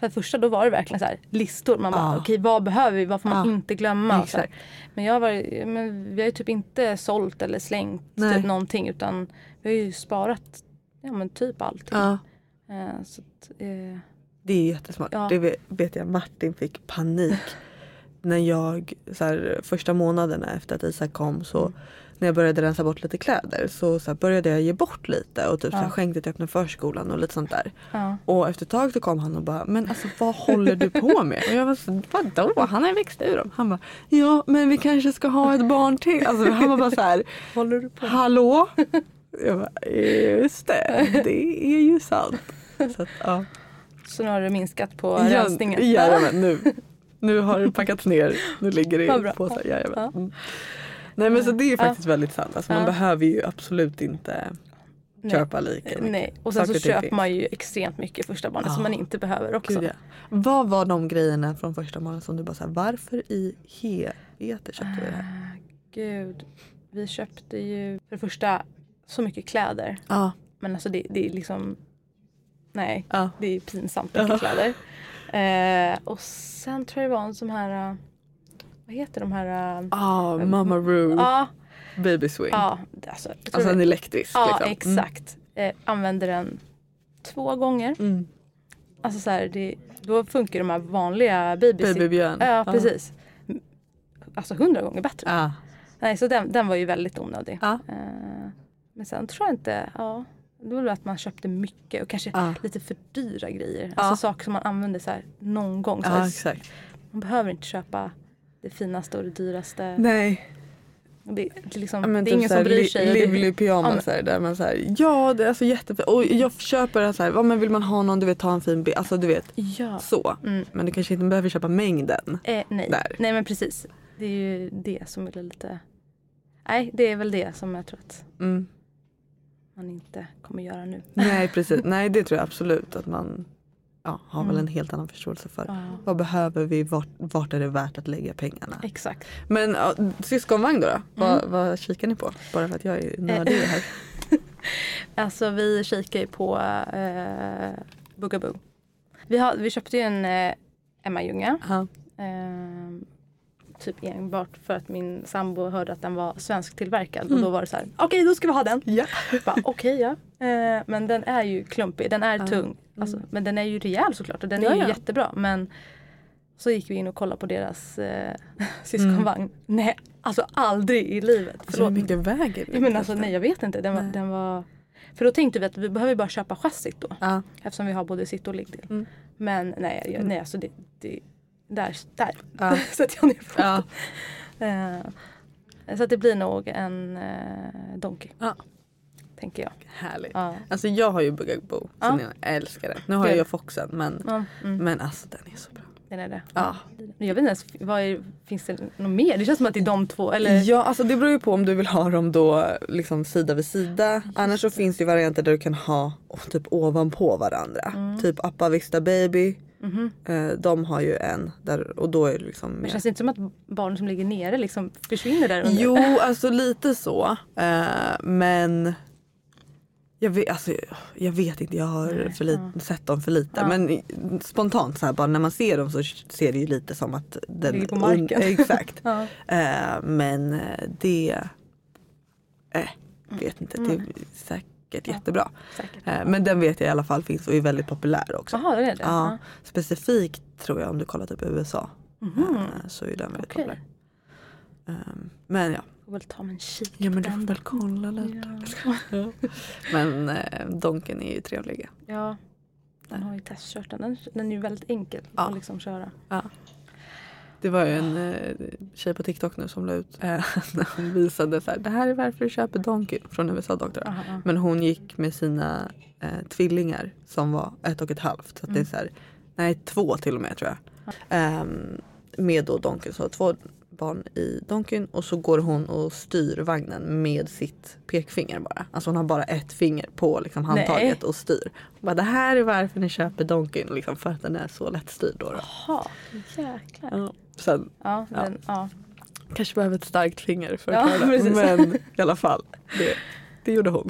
[SPEAKER 3] För det första då var det verkligen så här, listor. Man bara,
[SPEAKER 2] Ja.
[SPEAKER 3] okej vad behöver vi? Vad får man
[SPEAKER 2] Ja.
[SPEAKER 3] inte glömma? Och Så här.
[SPEAKER 2] Exakt.
[SPEAKER 3] Men, jag var, men vi har ju typ inte sålt eller slängt
[SPEAKER 2] Nej.
[SPEAKER 3] typ någonting utan vi har ju sparat ja, men typ allting.
[SPEAKER 2] ja.
[SPEAKER 3] Eh, så att, eh,
[SPEAKER 2] Det är jättesmart.
[SPEAKER 3] Ja.
[SPEAKER 2] Det vet- vet jag Martin fick panik. när jag, så här, första månaderna efter att Isak kom så
[SPEAKER 3] Mm.
[SPEAKER 2] när jag började rensa bort lite kläder så, så här, började jag ge bort lite och typ så här,
[SPEAKER 3] Ja.
[SPEAKER 2] skänkte till öppna förskolan och lite sånt där.
[SPEAKER 3] ja.
[SPEAKER 2] Och efter ett tag så kom han och bara men alltså vad håller du på med? Och jag var så vadå han har ju växt ur dem. Han bara ja men vi kanske ska ha ett barn till. Alltså han var bara så här
[SPEAKER 3] Håller du på?
[SPEAKER 2] hallå? Jag bara just det det är ju sant. Så att, ja.
[SPEAKER 3] Så nu har du minskat på
[SPEAKER 2] Ja,
[SPEAKER 3] rensningen?
[SPEAKER 2] Jajamän, nu, nu har det packats ner. Nu ligger det
[SPEAKER 3] Vad
[SPEAKER 2] i
[SPEAKER 3] bra.
[SPEAKER 2] påsar.
[SPEAKER 3] Ja.
[SPEAKER 2] Jajamän. Mm. Nej men så det är faktiskt väldigt sant. Alltså, man
[SPEAKER 3] Ja.
[SPEAKER 2] behöver ju absolut inte
[SPEAKER 3] Nej.
[SPEAKER 2] köpa lika mycket.
[SPEAKER 3] Nej, och sen
[SPEAKER 2] Saker
[SPEAKER 3] så
[SPEAKER 2] och ting
[SPEAKER 3] köper
[SPEAKER 2] finns.
[SPEAKER 3] man ju extremt mycket i första barnet som
[SPEAKER 2] Ja.
[SPEAKER 3] man inte behöver också.
[SPEAKER 2] Gud, ja. Vad var de grejerna från första månaden som du bara såhär, varför i helvete köpte vi det här?
[SPEAKER 3] Ah, Gud, vi köpte ju för det första så mycket kläder.
[SPEAKER 2] Ja,
[SPEAKER 3] Men alltså det, det är liksom, nej,
[SPEAKER 2] ja.
[SPEAKER 3] det är pinsamt mycket kläder. Eh, och sen tror jag det var en sån här, eh, vad heter de här? eh,
[SPEAKER 2] Ah, Mama Roo,
[SPEAKER 3] Ja,
[SPEAKER 2] Baby Swing.
[SPEAKER 3] ja, alltså. jag tror
[SPEAKER 2] Ah. Alltså en
[SPEAKER 3] det-
[SPEAKER 2] elektrisk.
[SPEAKER 3] Ja,
[SPEAKER 2] liksom. Mm.
[SPEAKER 3] exakt. Eh, använde den två gånger.
[SPEAKER 2] Mm.
[SPEAKER 3] Alltså så här, det, då funkar de här vanliga babysit-
[SPEAKER 2] Babybjörn.
[SPEAKER 3] Ja, precis. Alltså hundra gånger bättre.
[SPEAKER 2] Ja.
[SPEAKER 3] Nej, så den, den var ju väldigt onödig.
[SPEAKER 2] Ja.
[SPEAKER 3] Eh, men sen tror jag inte, ja. Det var väl att man köpte mycket och kanske
[SPEAKER 2] Ja.
[SPEAKER 3] lite för dyra grejer.
[SPEAKER 2] Ja.
[SPEAKER 3] Alltså saker som man använder så här någon gång. Så
[SPEAKER 2] ja,
[SPEAKER 3] här,
[SPEAKER 2] exakt.
[SPEAKER 3] man behöver inte köpa det finaste och det dyraste.
[SPEAKER 2] Nej.
[SPEAKER 3] Det, det, är liksom,
[SPEAKER 2] Ja, men
[SPEAKER 3] det är
[SPEAKER 2] typ
[SPEAKER 3] ingen
[SPEAKER 2] såhär
[SPEAKER 3] som bryr
[SPEAKER 2] li-
[SPEAKER 3] sig. Det-
[SPEAKER 2] Livly pyjamas
[SPEAKER 3] Ja, men-
[SPEAKER 2] så här, där man såhär, ja det är alltså jättefint. Och jag köper det såhär, ja, men vill man ha någon du vet ta en fin bild, alltså du vet
[SPEAKER 3] Ja.
[SPEAKER 2] så.
[SPEAKER 3] Mm.
[SPEAKER 2] Men du kanske inte behöver köpa mängden.
[SPEAKER 3] Eh, nej.
[SPEAKER 2] Där.
[SPEAKER 3] nej, men precis. Det är ju det som är lite... Nej, det är väl det som jag tror att
[SPEAKER 2] Mm.
[SPEAKER 3] man inte kommer göra nu.
[SPEAKER 2] Nej precis, nej det tror jag absolut att man ja, har väl en helt annan förståelse för.
[SPEAKER 3] Mm. Ja,
[SPEAKER 2] Vad behöver vi, vart, vart är det värt att lägga pengarna?
[SPEAKER 3] exakt.
[SPEAKER 2] Men ja, syskonvagn då, då?
[SPEAKER 3] Mm.
[SPEAKER 2] Vad, vad kikar ni på? Bara för att jag är nördig
[SPEAKER 3] Eh.
[SPEAKER 2] i det här.
[SPEAKER 3] Alltså vi kikar ju på eh, Bugaboo. Vi, har, vi köpte ju en eh, Emma Ljunga.
[SPEAKER 2] Ja.
[SPEAKER 3] Eh, typ enbart för att min sambo hörde att den var svensktillverkad. Och
[SPEAKER 2] Mm.
[SPEAKER 3] då var det så här, okej då ska vi ha den.
[SPEAKER 2] Ja.
[SPEAKER 3] Bara, Okej ja. Eh, men den är ju klumpig, den är tung. Alltså, men den är ju rejäl såklart och den är
[SPEAKER 2] Mm. Ja,
[SPEAKER 3] ju
[SPEAKER 2] ja.
[SPEAKER 3] jättebra. Men så gick vi in och kollade på deras eh, syskonvagn.
[SPEAKER 2] Mm.
[SPEAKER 3] Nej, alltså aldrig i livet.
[SPEAKER 2] Så hur
[SPEAKER 3] Förlåt.
[SPEAKER 2] Alltså, mycket väger
[SPEAKER 3] Ja, men alltså, nej jag vet inte. Den var, den var... För då tänkte vi att vi behöver bara köpa chassit då.
[SPEAKER 2] Ja.
[SPEAKER 3] Eftersom vi har både sitt och liggdel.
[SPEAKER 2] Mm.
[SPEAKER 3] Men nej, jag, nej alltså det, det där, där
[SPEAKER 2] Ja.
[SPEAKER 3] sätter jag ner foten.
[SPEAKER 2] Ja.
[SPEAKER 3] Eh, så att det blir nog en eh, Donkey.
[SPEAKER 2] Ja.
[SPEAKER 3] Tänker jag.
[SPEAKER 2] Härligt.
[SPEAKER 3] Ja.
[SPEAKER 2] Alltså jag har ju Bugaboo,
[SPEAKER 3] Ja.
[SPEAKER 2] ja. jag älskar den. Nu har
[SPEAKER 3] Kul.
[SPEAKER 2] jag foxen men,
[SPEAKER 3] Ja, mm.
[SPEAKER 2] men alltså den är så bra.
[SPEAKER 3] Den är det.
[SPEAKER 2] Ja.
[SPEAKER 3] Jag vet inte ens, vad är, finns det något mer? Det känns som att det är de två. Eller,
[SPEAKER 2] Ja, alltså det beror ju på om du vill ha dem då liksom sida vid sida. Annars så finns det ju varianter där du kan ha oh, typ ovanpå varandra.
[SPEAKER 3] Mm.
[SPEAKER 2] Typ Appa Vista Baby.
[SPEAKER 3] Mhm.
[SPEAKER 2] Eh, de har ju en där och då är det liksom
[SPEAKER 3] men
[SPEAKER 2] mer
[SPEAKER 3] känns det inte som att barn som ligger nere liksom försvinner där under?
[SPEAKER 2] Jo, alltså lite så. Eh, men jag vet, alltså, jag vet inte, jag har för li- sett dem för lite. Men i- spontant så här, bara när man ser dem så ser det ju lite som att den
[SPEAKER 3] Ligger på marken.
[SPEAKER 2] un- exakt.
[SPEAKER 3] Ja.
[SPEAKER 2] Eh, men eh, det... Eh,
[SPEAKER 3] Mm.
[SPEAKER 2] vet inte, det är säkert jättebra.
[SPEAKER 3] Säkert.
[SPEAKER 2] Eh, men den vet jag i alla fall finns och är väldigt populär också.
[SPEAKER 3] Jaha, det är det?
[SPEAKER 2] Ja, specifikt tror jag om du kollar typ USA eh, så är den väldigt
[SPEAKER 3] Mhm. Okej.
[SPEAKER 2] populär. Eh, men ja.
[SPEAKER 3] Jag får väl ta mig en kik.
[SPEAKER 2] Ja men du
[SPEAKER 3] på
[SPEAKER 2] får
[SPEAKER 3] den.
[SPEAKER 2] väl kolla lite. Ja. men eh, donken är ju trevliga.
[SPEAKER 3] Ja. Den har ju testkört den. Den- Den är ju väldigt enkel
[SPEAKER 2] Ja.
[SPEAKER 3] att liksom köra.
[SPEAKER 2] Det var ju en eh, tjej på TikTok nu som la ut eh, när hon visade så här, det här är varför du köper donken från USA doktor.
[SPEAKER 3] Aha, ja.
[SPEAKER 2] Men hon gick med sina eh, tvillingar som var ett och ett halvt. Så att det är
[SPEAKER 3] Mm.
[SPEAKER 2] så här, nej två till och med tror jag. Ehm, med då donken så två barn i donken och så går hon och styr vagnen med sitt pekfinger bara. Alltså hon har bara ett finger på liksom handtaget
[SPEAKER 3] Nej.
[SPEAKER 2] och styr. Hon Bara, det här är varför ni köper donken liksom för att den är så lättstyrd då. då.
[SPEAKER 3] Jaha, jäklar.
[SPEAKER 2] Ja. Sen
[SPEAKER 3] Ja,
[SPEAKER 2] Ja.
[SPEAKER 3] Den, ja.
[SPEAKER 2] kanske behöver ett starkt finger för
[SPEAKER 3] Ja,
[SPEAKER 2] att klara det.
[SPEAKER 3] precis.
[SPEAKER 2] Men i alla fall, det, det gjorde hon.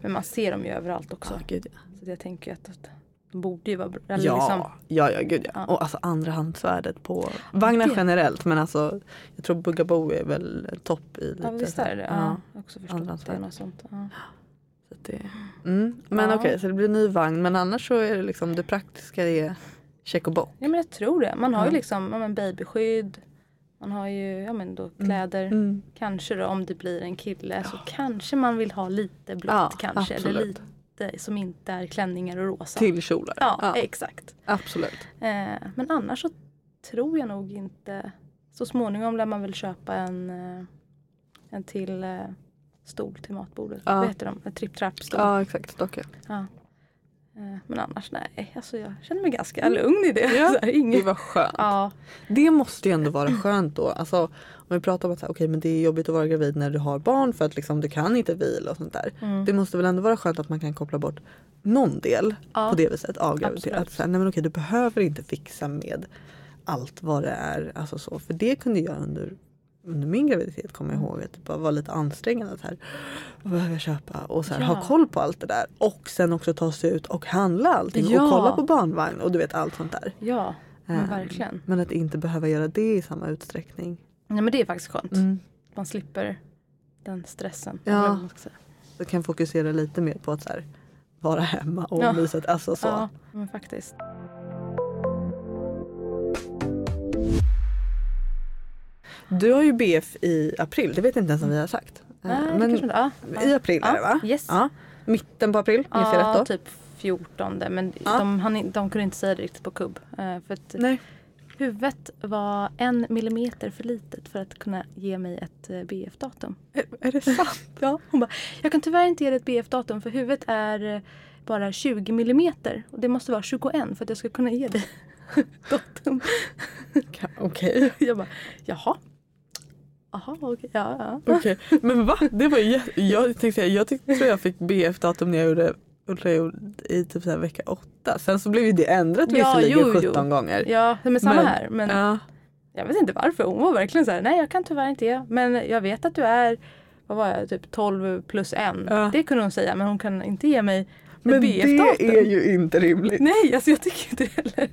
[SPEAKER 3] Men man ser dem ju överallt också.
[SPEAKER 2] gud, ja.
[SPEAKER 3] Så jag tänker ju att att de borde ju vara bra. Eller liksom,
[SPEAKER 2] Ja, ja, ja, gud ja.
[SPEAKER 3] Ja.
[SPEAKER 2] Och alltså andrahandsvärdet på vagnar
[SPEAKER 3] det-
[SPEAKER 2] generellt men alltså jag tror Bugaboo är väl topp i lite.
[SPEAKER 3] ja, visst är det det?
[SPEAKER 2] så här,
[SPEAKER 3] Ja. Jag har också förstått att det
[SPEAKER 2] Andrahandsvärde.
[SPEAKER 3] är något sånt. Ja.
[SPEAKER 2] Så att det, mm. Men
[SPEAKER 3] Ja.
[SPEAKER 2] okej, så det blir ny vagn men annars så är det liksom det praktiska är check och bock.
[SPEAKER 3] ja, men jag tror det. Man har ju
[SPEAKER 2] Ja.
[SPEAKER 3] liksom ja, men babyskydd. Man har ju ja, men då kläder.
[SPEAKER 2] Mm.
[SPEAKER 3] Kanske då om det blir en kille så kanske man vill ha lite blått
[SPEAKER 2] Ja,
[SPEAKER 3] kanske.
[SPEAKER 2] absolut.
[SPEAKER 3] Eller lite som inte är klänningar och rosa.
[SPEAKER 2] Till kjolar.
[SPEAKER 3] Ja,
[SPEAKER 2] Ja,
[SPEAKER 3] exakt.
[SPEAKER 2] absolut.
[SPEAKER 3] Eh, men annars så tror jag nog inte. Så småningom lär man väl köpa en, eh, en till eh, stol till matbordet.
[SPEAKER 2] Ja.
[SPEAKER 3] Vad heter de? En tripp-trapp-stol.
[SPEAKER 2] Ja exakt, stock ja.
[SPEAKER 3] Eh, men annars nej, alltså jag känner mig ganska lugn i det. Så här,
[SPEAKER 2] Mm. Det
[SPEAKER 3] inget.
[SPEAKER 2] var skönt.
[SPEAKER 3] Ja,
[SPEAKER 2] Det måste ju ändå vara skönt då. Alltså, om vi pratar om att så här, okej, men det är jobbigt att vara gravid när du har barn för att liksom, du kan inte vila och sånt där.
[SPEAKER 3] Mm.
[SPEAKER 2] Det måste väl ändå vara skönt att man kan koppla bort någon del
[SPEAKER 3] Ja,
[SPEAKER 2] på det viset av graviditet.
[SPEAKER 3] absolut.
[SPEAKER 2] Att så här, nej men okej, du behöver inte fixa med allt vad det är. Alltså så, för det kunde jag under, under min graviditet komma
[SPEAKER 3] Mm.
[SPEAKER 2] ihåg att det bara var lite ansträngande. Att så här, vad behöver jag köpa? Och så här,
[SPEAKER 3] Ja.
[SPEAKER 2] ha koll på allt det där. Och sen också ta sig ut och handla allting.
[SPEAKER 3] Ja. Mm.
[SPEAKER 2] Och kolla på barnvagn och du vet allt sånt där.
[SPEAKER 3] ja men
[SPEAKER 2] Ehm,
[SPEAKER 3] verkligen.
[SPEAKER 2] Men att inte behöva göra det i samma utsträckning.
[SPEAKER 3] Nej, men det är faktiskt skönt.
[SPEAKER 2] Mm.
[SPEAKER 3] Man slipper den stressen.
[SPEAKER 2] Ja.
[SPEAKER 3] eller vad man ska säga.
[SPEAKER 2] Du kan fokusera lite mer på att så här, vara hemma och
[SPEAKER 3] Ja.
[SPEAKER 2] mysa. Alltså så.
[SPEAKER 3] ja men faktiskt.
[SPEAKER 2] Du har ju BF i april, det vet jag inte ens om vi har sagt.
[SPEAKER 3] Nej, det
[SPEAKER 2] Eh,
[SPEAKER 3] kanske inte- ja, ja.
[SPEAKER 2] I april är det va?
[SPEAKER 3] Yes.
[SPEAKER 2] Ja. Mitten på april, minns jag rätt då?
[SPEAKER 3] Ja, typ 14. Men
[SPEAKER 2] Ja.
[SPEAKER 3] de, hann- de kunde inte säga det riktigt på kubb. eh, För att
[SPEAKER 2] Nej.
[SPEAKER 3] huvudet var en millimeter för litet för att kunna ge mig ett eh, BF-datum.
[SPEAKER 2] Är, är det sant?
[SPEAKER 3] Ja, hon bara, jag kan tyvärr inte ge dig ett BF-datum för huvudet är eh, bara 20 millimeter. Och det måste vara 21 för att jag ska kunna ge dig datum.
[SPEAKER 2] Ka- Okej.
[SPEAKER 3] Jag bara, jaha. Jaha, okej. Ja, ja.
[SPEAKER 2] Okej. Men va? Det var ju jä- jag tänkte säga, jag tyck- tror jag fick BF-datum när jag gjorde ultraljud i typ så här vecka åtta. Sen så blev ju det ändrat
[SPEAKER 3] Ja,
[SPEAKER 2] visserligen
[SPEAKER 3] jo, jo.
[SPEAKER 2] 17 gånger.
[SPEAKER 3] Ja, men samma
[SPEAKER 2] Men-
[SPEAKER 3] här. Men
[SPEAKER 2] Ja.
[SPEAKER 3] jag vet inte varför. Hon var verkligen så här, nej jag kan tyvärr inte ge. Men jag vet att du är, vad var jag, typ 12 plus 1.
[SPEAKER 2] Ja.
[SPEAKER 3] Det kunde hon säga, men hon kan inte ge mig
[SPEAKER 2] Men
[SPEAKER 3] ett BF-datum.
[SPEAKER 2] det är ju inte rimligt.
[SPEAKER 3] Nej, alltså jag tycker inte det heller.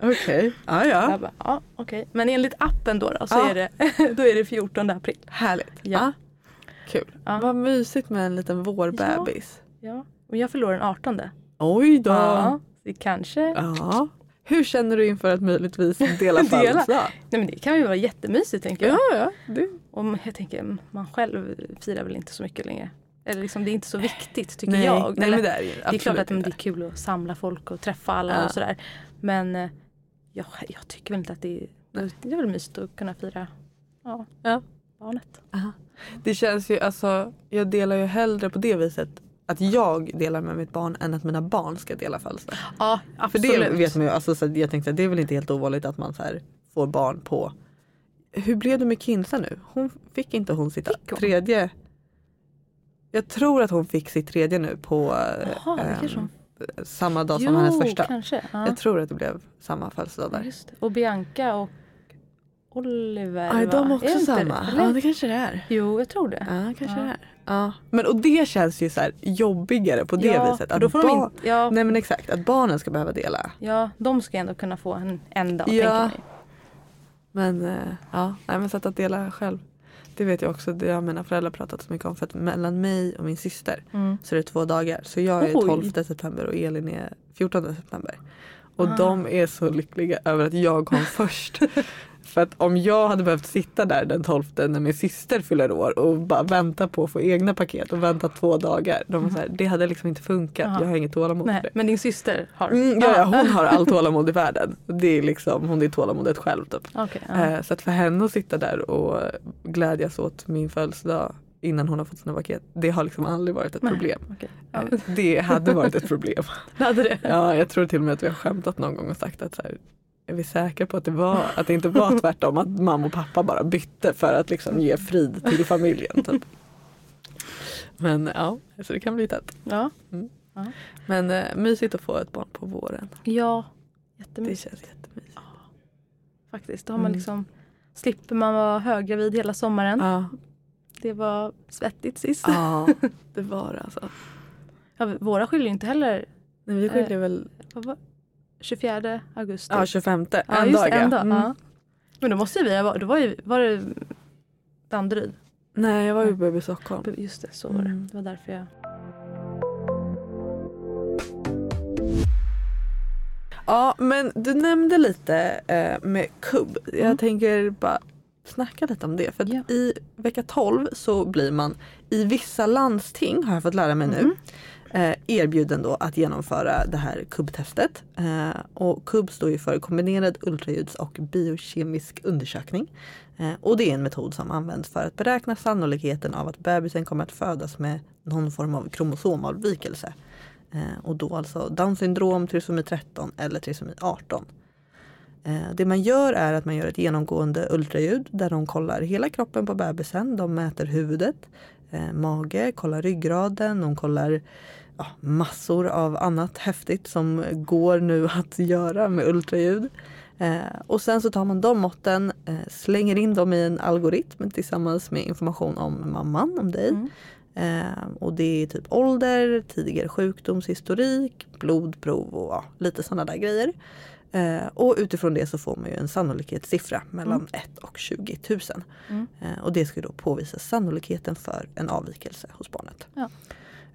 [SPEAKER 2] Okej. Ja, ja.
[SPEAKER 3] Jag bara, ja, okej. Men enligt appen då, då så
[SPEAKER 2] Ja.
[SPEAKER 3] är det, då är det 14 april.
[SPEAKER 2] Härligt.
[SPEAKER 3] Ja.
[SPEAKER 2] Kul.
[SPEAKER 3] Ja.
[SPEAKER 2] Vad mysigt med en liten vårbebis.
[SPEAKER 3] Ja. Och jag förlorar den 18.
[SPEAKER 2] Oj då.
[SPEAKER 3] Ja,
[SPEAKER 2] Ja.
[SPEAKER 3] det kanske.
[SPEAKER 2] Hur känner du inför att möjligtvis dela födelsedag?
[SPEAKER 3] Nej men det kan ju vara jättemysigt tänker jag.
[SPEAKER 2] ja. Det.
[SPEAKER 3] Och jag tänker, man själv firar väl inte så mycket längre. Eller liksom det är inte så viktigt tycker
[SPEAKER 2] Nej.
[SPEAKER 3] jag.
[SPEAKER 2] Nej,
[SPEAKER 3] Eller-
[SPEAKER 2] men det är ju
[SPEAKER 3] Det är klart
[SPEAKER 2] absolut
[SPEAKER 3] att men,
[SPEAKER 2] inte.
[SPEAKER 3] det är kul att samla folk och träffa alla
[SPEAKER 2] Ja.
[SPEAKER 3] och sådär. Men eh, jag, jag tycker väl inte att det är...
[SPEAKER 2] Nej.
[SPEAKER 3] Det är väl mysigt att kunna fira ja,
[SPEAKER 2] Ja.
[SPEAKER 3] barnet.
[SPEAKER 2] Det känns ju, alltså, jag delar ju hellre på det viset att jag delar med mitt barn än att mina barn ska dela födelsedag.
[SPEAKER 3] Ja,
[SPEAKER 2] För
[SPEAKER 3] absolut.
[SPEAKER 2] det vet man ju, alltså, så att jag tänkte att det är väl inte helt ovanligt att man så här, får barn på Hur blev det med Kinsa nu? Hon fick inte hon sitt
[SPEAKER 3] Fick hon?
[SPEAKER 2] tredje Jag tror att hon fick sitt tredje nu på eh,
[SPEAKER 3] Jaha, det kanske hon-
[SPEAKER 2] eh, samma dag som
[SPEAKER 3] jo,
[SPEAKER 2] hennes första.
[SPEAKER 3] kanske. Ja.
[SPEAKER 2] Jag tror att det blev samma födelsedag där.
[SPEAKER 3] Just det. Och Bianca och Oliver
[SPEAKER 2] Aj, de är
[SPEAKER 3] va?
[SPEAKER 2] också
[SPEAKER 3] Är det inte
[SPEAKER 2] samma.
[SPEAKER 3] det?
[SPEAKER 2] ja
[SPEAKER 3] Eller?
[SPEAKER 2] det kanske det är.
[SPEAKER 3] Jo, jag tror det.
[SPEAKER 2] Ja kanske
[SPEAKER 3] Ja.
[SPEAKER 2] det är. Ja. Men och det känns ju så här jobbigare på det
[SPEAKER 3] ja,
[SPEAKER 2] viset.
[SPEAKER 3] för då får de
[SPEAKER 2] barn-
[SPEAKER 3] inte, ja,
[SPEAKER 2] Nej men exakt, att barnen ska behöva dela.
[SPEAKER 3] ja, de ska ändå kunna få en, en dag,
[SPEAKER 2] Ja.
[SPEAKER 3] tänker jag.
[SPEAKER 2] Men eh, ja, nej, men så att, att dela själv. Det vet jag också, det har mina föräldrar pratat så mycket om. För att mellan mig och min syster
[SPEAKER 3] Mm.
[SPEAKER 2] så är det två dagar. Så jag är
[SPEAKER 3] Oj.
[SPEAKER 2] 12 september och Elin är 14 september. Och
[SPEAKER 3] Ah.
[SPEAKER 2] de är så lyckliga över att jag kom först. För att om jag hade behövt sitta där den 12 när min syster fyller år och bara vänta på att få egna paket och vänta två dagar. De var så här, det hade liksom inte funkat,
[SPEAKER 3] Mm. Aha.
[SPEAKER 2] jag har inget tålamod för
[SPEAKER 3] Nej, Ah.
[SPEAKER 2] det.
[SPEAKER 3] men din syster har?
[SPEAKER 2] Mm, ja, ja, hon har allt tålamod i världen. Det är liksom, hon är tålamodet själv typ.
[SPEAKER 3] Ah. Okej, ja.
[SPEAKER 2] Eh, Så att för henne att sitta där och glädjas åt min födelsedag innan hon har fått sina paket, det har liksom aldrig varit ett
[SPEAKER 3] Nej.
[SPEAKER 2] problem.
[SPEAKER 3] okej.
[SPEAKER 2] Eh, Det hade varit ett problem.
[SPEAKER 3] Det hade det.
[SPEAKER 2] Ja, jag tror till och med att vi har skämtat någon gång och sagt att så här, är vi säkra på att det, var, att det inte var tvärtom, att mamma och pappa bara bytte för att liksom ge frid till familjen. Typ. Men ja, så det kan bli tätt.
[SPEAKER 3] Ja,
[SPEAKER 2] Men eh, mysigt att få ett barn på våren.
[SPEAKER 3] ja
[SPEAKER 2] Det
[SPEAKER 3] jättemysigt
[SPEAKER 2] känns jättemysigt.
[SPEAKER 3] faktiskt. Då har man
[SPEAKER 2] Mm. Ah.
[SPEAKER 3] liksom, slipper man vara höggravid hela sommaren.
[SPEAKER 2] Ja,
[SPEAKER 3] Det var svettigt sist.
[SPEAKER 2] ja det var det alltså.
[SPEAKER 3] Ja, våra skiljer ju inte heller.
[SPEAKER 2] Nej, vi
[SPEAKER 3] Eh.
[SPEAKER 2] skiljer väl
[SPEAKER 3] Vad var, 24 augusti.
[SPEAKER 2] Ja, 25.
[SPEAKER 3] Typ. Ja,
[SPEAKER 2] en
[SPEAKER 3] just
[SPEAKER 2] dag.
[SPEAKER 3] en
[SPEAKER 2] ja.
[SPEAKER 3] dag.
[SPEAKER 2] Mm.
[SPEAKER 3] Ja. Men då måste ju vi ha varit, då var, ju, var det Danderyd?
[SPEAKER 2] Nej, jag var ju på BB Stockholm.
[SPEAKER 3] Just det, så var det.
[SPEAKER 2] Mm.
[SPEAKER 3] Det var därför jag...
[SPEAKER 2] Ja, men du nämnde lite eh, med kubb. Jag
[SPEAKER 3] Mm.
[SPEAKER 2] tänker bara snacka lite om det. För att
[SPEAKER 3] Ja.
[SPEAKER 2] i vecka 12 så blir man i vissa landsting, har jag fått lära mig nu,
[SPEAKER 3] Mhm.
[SPEAKER 2] eh, erbjuden då att genomföra det här kubbtestet. Eh, och kubb står ju för kombinerad ultraljuds och biokemisk undersökning. Eh, och det är en metod som används för att beräkna sannolikheten av att bebisen kommer att födas med någon form av kromosomavvikelse. Eh, och då alltså Downs syndrom, trisomi 13 eller trisomi 18. Eh, Det man gör är att man gör ett genomgående ultraljud där de kollar hela kroppen på bebisen. De mäter huvudet, eh, mage, kollar ryggraden, de kollar ja, massor av annat häftigt som går nu att göra med ultraljud. Eh, och sen så tar man de måtten, eh, slänger in dem i en algoritm tillsammans med information om mamman, om dig.
[SPEAKER 3] Mm.
[SPEAKER 2] Eh, och det är typ ålder, tidigare sjukdomshistorik, blodprov och ja, lite sådana där grejer. Eh, och utifrån det så får man ju en sannolikhetssiffra mellan 1 och 20 000.
[SPEAKER 3] Mm.
[SPEAKER 2] Eh, och det ska ju då påvisa sannolikheten för en avvikelse hos barnet.
[SPEAKER 3] Ja.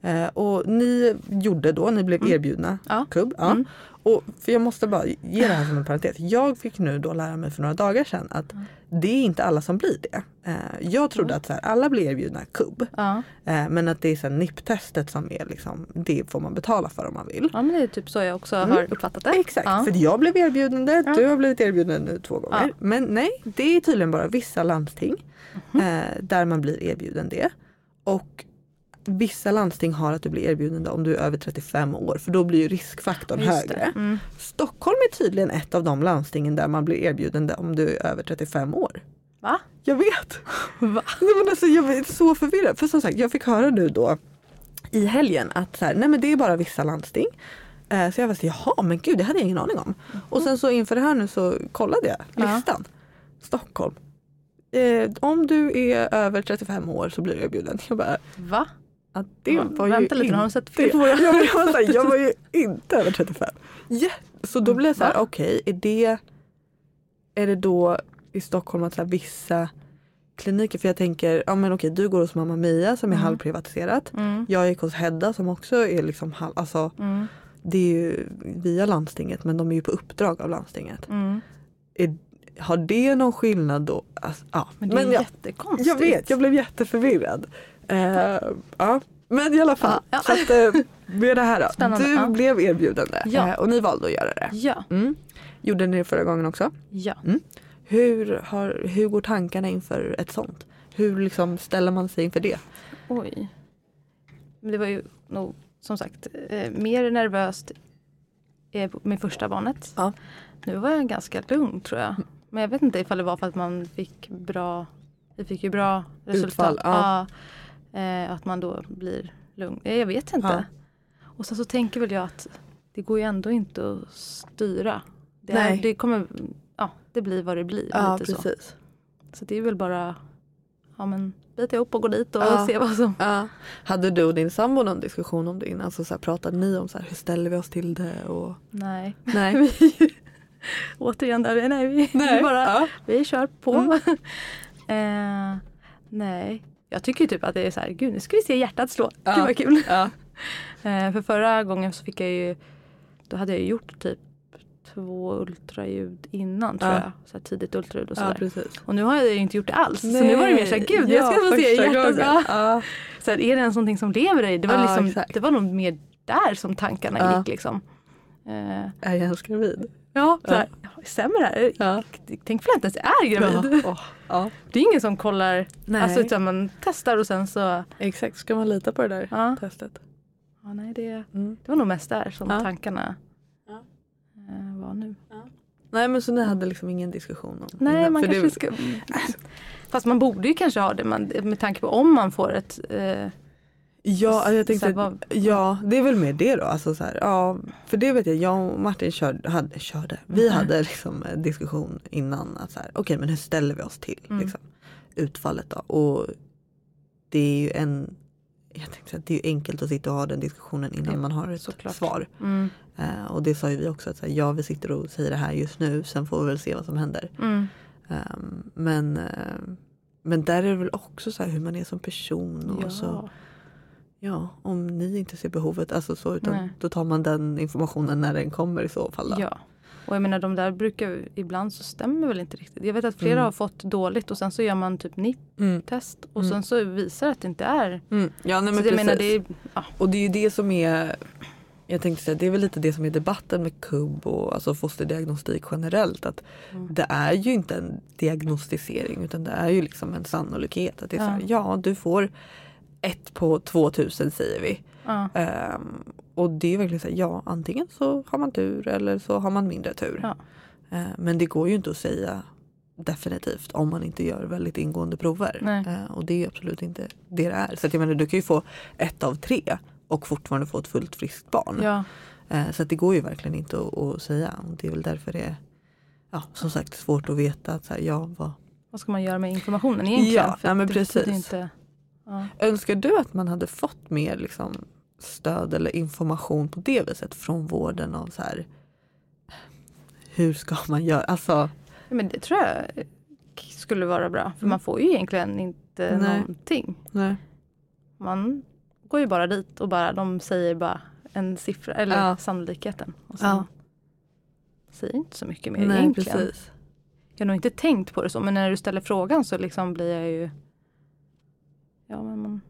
[SPEAKER 3] Mm.
[SPEAKER 2] Eh, och ni gjorde då, ni blev erbjudna
[SPEAKER 3] Ja.
[SPEAKER 2] kubb. Ja.
[SPEAKER 3] Mm.
[SPEAKER 2] Och för jag måste bara ge det här som en parentes. Jag fick nu då lära mig för några dagar sedan att det är inte alla som blir det. Eh, jag trodde att så här, alla blir erbjudna kubb.
[SPEAKER 3] Ja.
[SPEAKER 2] Eh, Men att det är sen NIP-testet som är liksom, det får man betala för om man vill.
[SPEAKER 3] ja, men det är typ så jag också har uppfattat det.
[SPEAKER 2] Mm. Exakt,
[SPEAKER 3] Ja.
[SPEAKER 2] för jag blev erbjuden det,
[SPEAKER 3] Ja.
[SPEAKER 2] du har blivit erbjuden nu två gånger.
[SPEAKER 3] Ja.
[SPEAKER 2] Men nej, det är tydligen bara vissa landsting
[SPEAKER 3] Mhm.
[SPEAKER 2] eh, där man blir erbjuden det. Och vissa landsting har att du blir erbjuden det om du är över 35 år för då blir ju riskfaktorn
[SPEAKER 3] Just det.
[SPEAKER 2] högre.
[SPEAKER 3] Mm.
[SPEAKER 2] Stockholm är tydligen ett av de landstingen där man blir erbjuden det om du är över 35 år.
[SPEAKER 3] Va?
[SPEAKER 2] Jag vet! Nej, men alltså, jag är så förvirrad. För som sagt, jag fick höra nu då i helgen att så här, nej, men det är bara vissa landsting. Eh, Så jag var så här, jaha men gud det hade jag ingen aning om. Och sen så inför det här nu så kollade jag
[SPEAKER 3] Ja.
[SPEAKER 2] listan. Stockholm. Eh, om du är över 35 år så blir du erbjuden. Jag bara,
[SPEAKER 3] Va?
[SPEAKER 2] ja, det
[SPEAKER 3] Va-
[SPEAKER 2] var
[SPEAKER 3] Vänta
[SPEAKER 2] ju
[SPEAKER 3] lite, har de
[SPEAKER 2] inte-
[SPEAKER 3] sett
[SPEAKER 2] det.
[SPEAKER 3] fel på våra?
[SPEAKER 2] Jag, var- jag, var såhär, jag var ju inte över 35. Ja, Så då blev jag så här,
[SPEAKER 3] Va?
[SPEAKER 2] okej, är, det, är det då i Stockholm att så här, vissa kliniker, för jag tänker, ja men okej du går hos mamma Mia som är
[SPEAKER 3] Mm.
[SPEAKER 2] halvprivatiserat.
[SPEAKER 3] Mm.
[SPEAKER 2] Jag gick hos Hedda som också är liksom halv, alltså
[SPEAKER 3] Mm.
[SPEAKER 2] det är ju via landstinget men de är ju på uppdrag av landstinget.
[SPEAKER 3] Mm.
[SPEAKER 2] Är, har det någon skillnad då? Alltså, ja.
[SPEAKER 3] Men det är
[SPEAKER 2] jag,
[SPEAKER 3] jättekonstigt.
[SPEAKER 2] jag vet, jag blev jätteförvirrad. Eh, ja. Men i alla fall,
[SPEAKER 3] Ja, ja.
[SPEAKER 2] så att, eh, med det här då.
[SPEAKER 3] Spännande,
[SPEAKER 2] Du
[SPEAKER 3] ja.
[SPEAKER 2] blev erbjuden det
[SPEAKER 3] Ja.
[SPEAKER 2] eh, och ni valde att göra det.
[SPEAKER 3] Ja,
[SPEAKER 2] Mm. Gjorde ni det förra gången också?
[SPEAKER 3] ja.
[SPEAKER 2] Hur, har, hur går tankarna inför ett sånt? Hur liksom ställer man sig inför det?
[SPEAKER 3] Oj. Men det var ju nog som sagt eh, mer nervöst eh, med första barnet.
[SPEAKER 2] Ja. Mm.
[SPEAKER 3] Nu var jag ganska lugn tror jag. Men jag vet inte ifall det var för att man fick bra, vi fick ju bra resultat.
[SPEAKER 2] Utfall, ja.
[SPEAKER 3] Ja, eh, att man då blir lugn. Eh, Jag vet inte.
[SPEAKER 2] Ja.
[SPEAKER 3] Och sen så tänker väl jag att det går ju ändå inte att styra. Det, är,
[SPEAKER 2] Nej.
[SPEAKER 3] det kommer, ja det blir vad det blir.
[SPEAKER 2] Ja,
[SPEAKER 3] lite så.
[SPEAKER 2] precis.
[SPEAKER 3] så det är väl bara, ja men bita ihop och gå dit och
[SPEAKER 2] Ja.
[SPEAKER 3] se vad som
[SPEAKER 2] Ja. Hade du och din sambo någon diskussion om det innan? Alltså, så här, pratade ni om så här, hur ställer vi oss till det? Och...
[SPEAKER 3] Nej.
[SPEAKER 2] Nej.
[SPEAKER 3] Vi, återigen, där, nej, vi,
[SPEAKER 2] Nej.
[SPEAKER 3] Vi, bara,
[SPEAKER 2] Ja.
[SPEAKER 3] vi kör på. eh, nej, jag tycker ju typ att det är så här, gud nu ska vi se hjärtat slå.
[SPEAKER 2] Ja.
[SPEAKER 3] Gud vad kul.
[SPEAKER 2] Ja.
[SPEAKER 3] Eh, för förra gången så fick jag ju, då hade jag ju gjort typ två ultraljud innan tror
[SPEAKER 2] Ja.
[SPEAKER 3] jag. Så här tidigt ultraljud och
[SPEAKER 2] ja,
[SPEAKER 3] sådär.
[SPEAKER 2] precis.
[SPEAKER 3] och nu har jag ju inte gjort det alls. Så nu var det mer så här, gud jag ska få se
[SPEAKER 2] första
[SPEAKER 3] hjärtat.
[SPEAKER 2] gången.
[SPEAKER 3] Ja.
[SPEAKER 2] Ja.
[SPEAKER 3] Så här, är det ens någonting som lever i? Det var,
[SPEAKER 2] Ja,
[SPEAKER 3] liksom,
[SPEAKER 2] exakt.
[SPEAKER 3] det var nog mer där som tankarna
[SPEAKER 2] Ja.
[SPEAKER 3] gick liksom. Eh,
[SPEAKER 2] Är jag ens gravid?
[SPEAKER 3] Ja,
[SPEAKER 2] Ja.
[SPEAKER 3] så här, ja. stämmer det här?
[SPEAKER 2] Ja.
[SPEAKER 3] Tänk för att jag inte ens är gravid.
[SPEAKER 2] Ja. Åh, ja.
[SPEAKER 3] Det är ingen som kollar,
[SPEAKER 2] Nej.
[SPEAKER 3] alltså, utan man testar och sen så. Ja,
[SPEAKER 2] Exakt, ska man lita på det där
[SPEAKER 3] Ja.
[SPEAKER 2] testet?
[SPEAKER 3] nej, det,
[SPEAKER 2] Mm.
[SPEAKER 3] det var nog mest där som
[SPEAKER 2] Ja.
[SPEAKER 3] tankarna
[SPEAKER 2] Ja.
[SPEAKER 3] eh, var nu.
[SPEAKER 2] Nej men så ni hade liksom ingen diskussion om
[SPEAKER 3] Nej,
[SPEAKER 2] innan?
[SPEAKER 3] man
[SPEAKER 2] För
[SPEAKER 3] kanske
[SPEAKER 2] det,
[SPEAKER 3] ska... Fast man borde ju kanske ha det man, med tanke på om man får ett... Eh,
[SPEAKER 2] Ja, jag tänkte,
[SPEAKER 3] Så här, vad-
[SPEAKER 2] ja det är väl mer det då. Alltså så här, ja, för det vet jag, jag och Martin körde, hade, körde.
[SPEAKER 3] Mm.
[SPEAKER 2] vi hade liksom en diskussion innan. att så här, Okej men hur ställer vi oss till
[SPEAKER 3] Mm.
[SPEAKER 2] liksom, utfallet då? Och det är ju en, jag tänkte att det är ju enkelt att sitta och ha den diskussionen innan
[SPEAKER 3] Ja,
[SPEAKER 2] man har ett
[SPEAKER 3] såklart.
[SPEAKER 2] svar.
[SPEAKER 3] mm,
[SPEAKER 2] Eh, och det sa ju vi också, att så här, ja vi sitter och säger det här just nu, sen får vi väl se vad som händer.
[SPEAKER 3] mm,
[SPEAKER 2] Ehm, men, ehm, men där är det väl också så här hur man är som person. Och
[SPEAKER 3] ja.
[SPEAKER 2] så, ja, om ni inte ser behovet, alltså så, utan
[SPEAKER 3] Nej.
[SPEAKER 2] då tar man den informationen när den kommer i så fall. Då.
[SPEAKER 3] ja. Och jag menar de där brukar, ju- ibland så stämmer väl inte riktigt. Jag vet att flera
[SPEAKER 2] Mm.
[SPEAKER 3] har fått dåligt och sen så gör man typ
[SPEAKER 2] Mm.
[SPEAKER 3] NIP-test och
[SPEAKER 2] Mm.
[SPEAKER 3] sen så visar det att det inte är.
[SPEAKER 2] Mm. ja nej, men
[SPEAKER 3] så jag
[SPEAKER 2] precis.
[SPEAKER 3] menar det är, ja.
[SPEAKER 2] Och det är ju det som är jag tänkte säga, det är väl lite det som är debatten med KUB och alltså fosterdiagnostik generellt. Att
[SPEAKER 3] Mm.
[SPEAKER 2] Det är ju inte en diagnostisering utan det är ju liksom en sannolikhet. Att det är så här,
[SPEAKER 3] Ja.
[SPEAKER 2] ja du får ett på 2000 säger vi.
[SPEAKER 3] Ja.
[SPEAKER 2] Ehm, och det är verkligen så här, ja antingen så har man tur eller så har man mindre tur.
[SPEAKER 3] Ja.
[SPEAKER 2] Ehm, men det går ju inte att säga definitivt om man inte gör väldigt ingående prover.
[SPEAKER 3] Nej.
[SPEAKER 2] Ehm, och det är ju absolut inte det det är. Så att jag menar, du kan ju få ett av tre och fortfarande få ett fullt friskt barn.
[SPEAKER 3] Ja,
[SPEAKER 2] Ehm, så att det går ju verkligen inte att, att säga. Och det är väl därför det är ja, som sagt svårt att veta. Att så här, ja, vad...
[SPEAKER 3] vad ska man göra med informationen egentligen?
[SPEAKER 2] Ja, nej, men
[SPEAKER 3] det betyder
[SPEAKER 2] precis.
[SPEAKER 3] Inte, ja.
[SPEAKER 2] Önskar du att man hade fått mer liksom, stöd eller information på det viset från vården av så här, hur ska man göra? Alltså,
[SPEAKER 3] Ja, Men det tror jag eh, skulle vara bra. För
[SPEAKER 2] Mm.
[SPEAKER 3] man får ju egentligen inte
[SPEAKER 2] Nej.
[SPEAKER 3] någonting.
[SPEAKER 2] nej.
[SPEAKER 3] Man går ju bara dit och bara, de säger bara en siffra, eller
[SPEAKER 2] Ja.
[SPEAKER 3] sannolikheten. Och sen
[SPEAKER 2] Ja,
[SPEAKER 3] säger inte så mycket mer
[SPEAKER 2] nej
[SPEAKER 3] egentligen.
[SPEAKER 2] precis.
[SPEAKER 3] Jag har nog inte tänkt på det så, men när du ställer frågan så liksom blir jag ju... Ja, men man,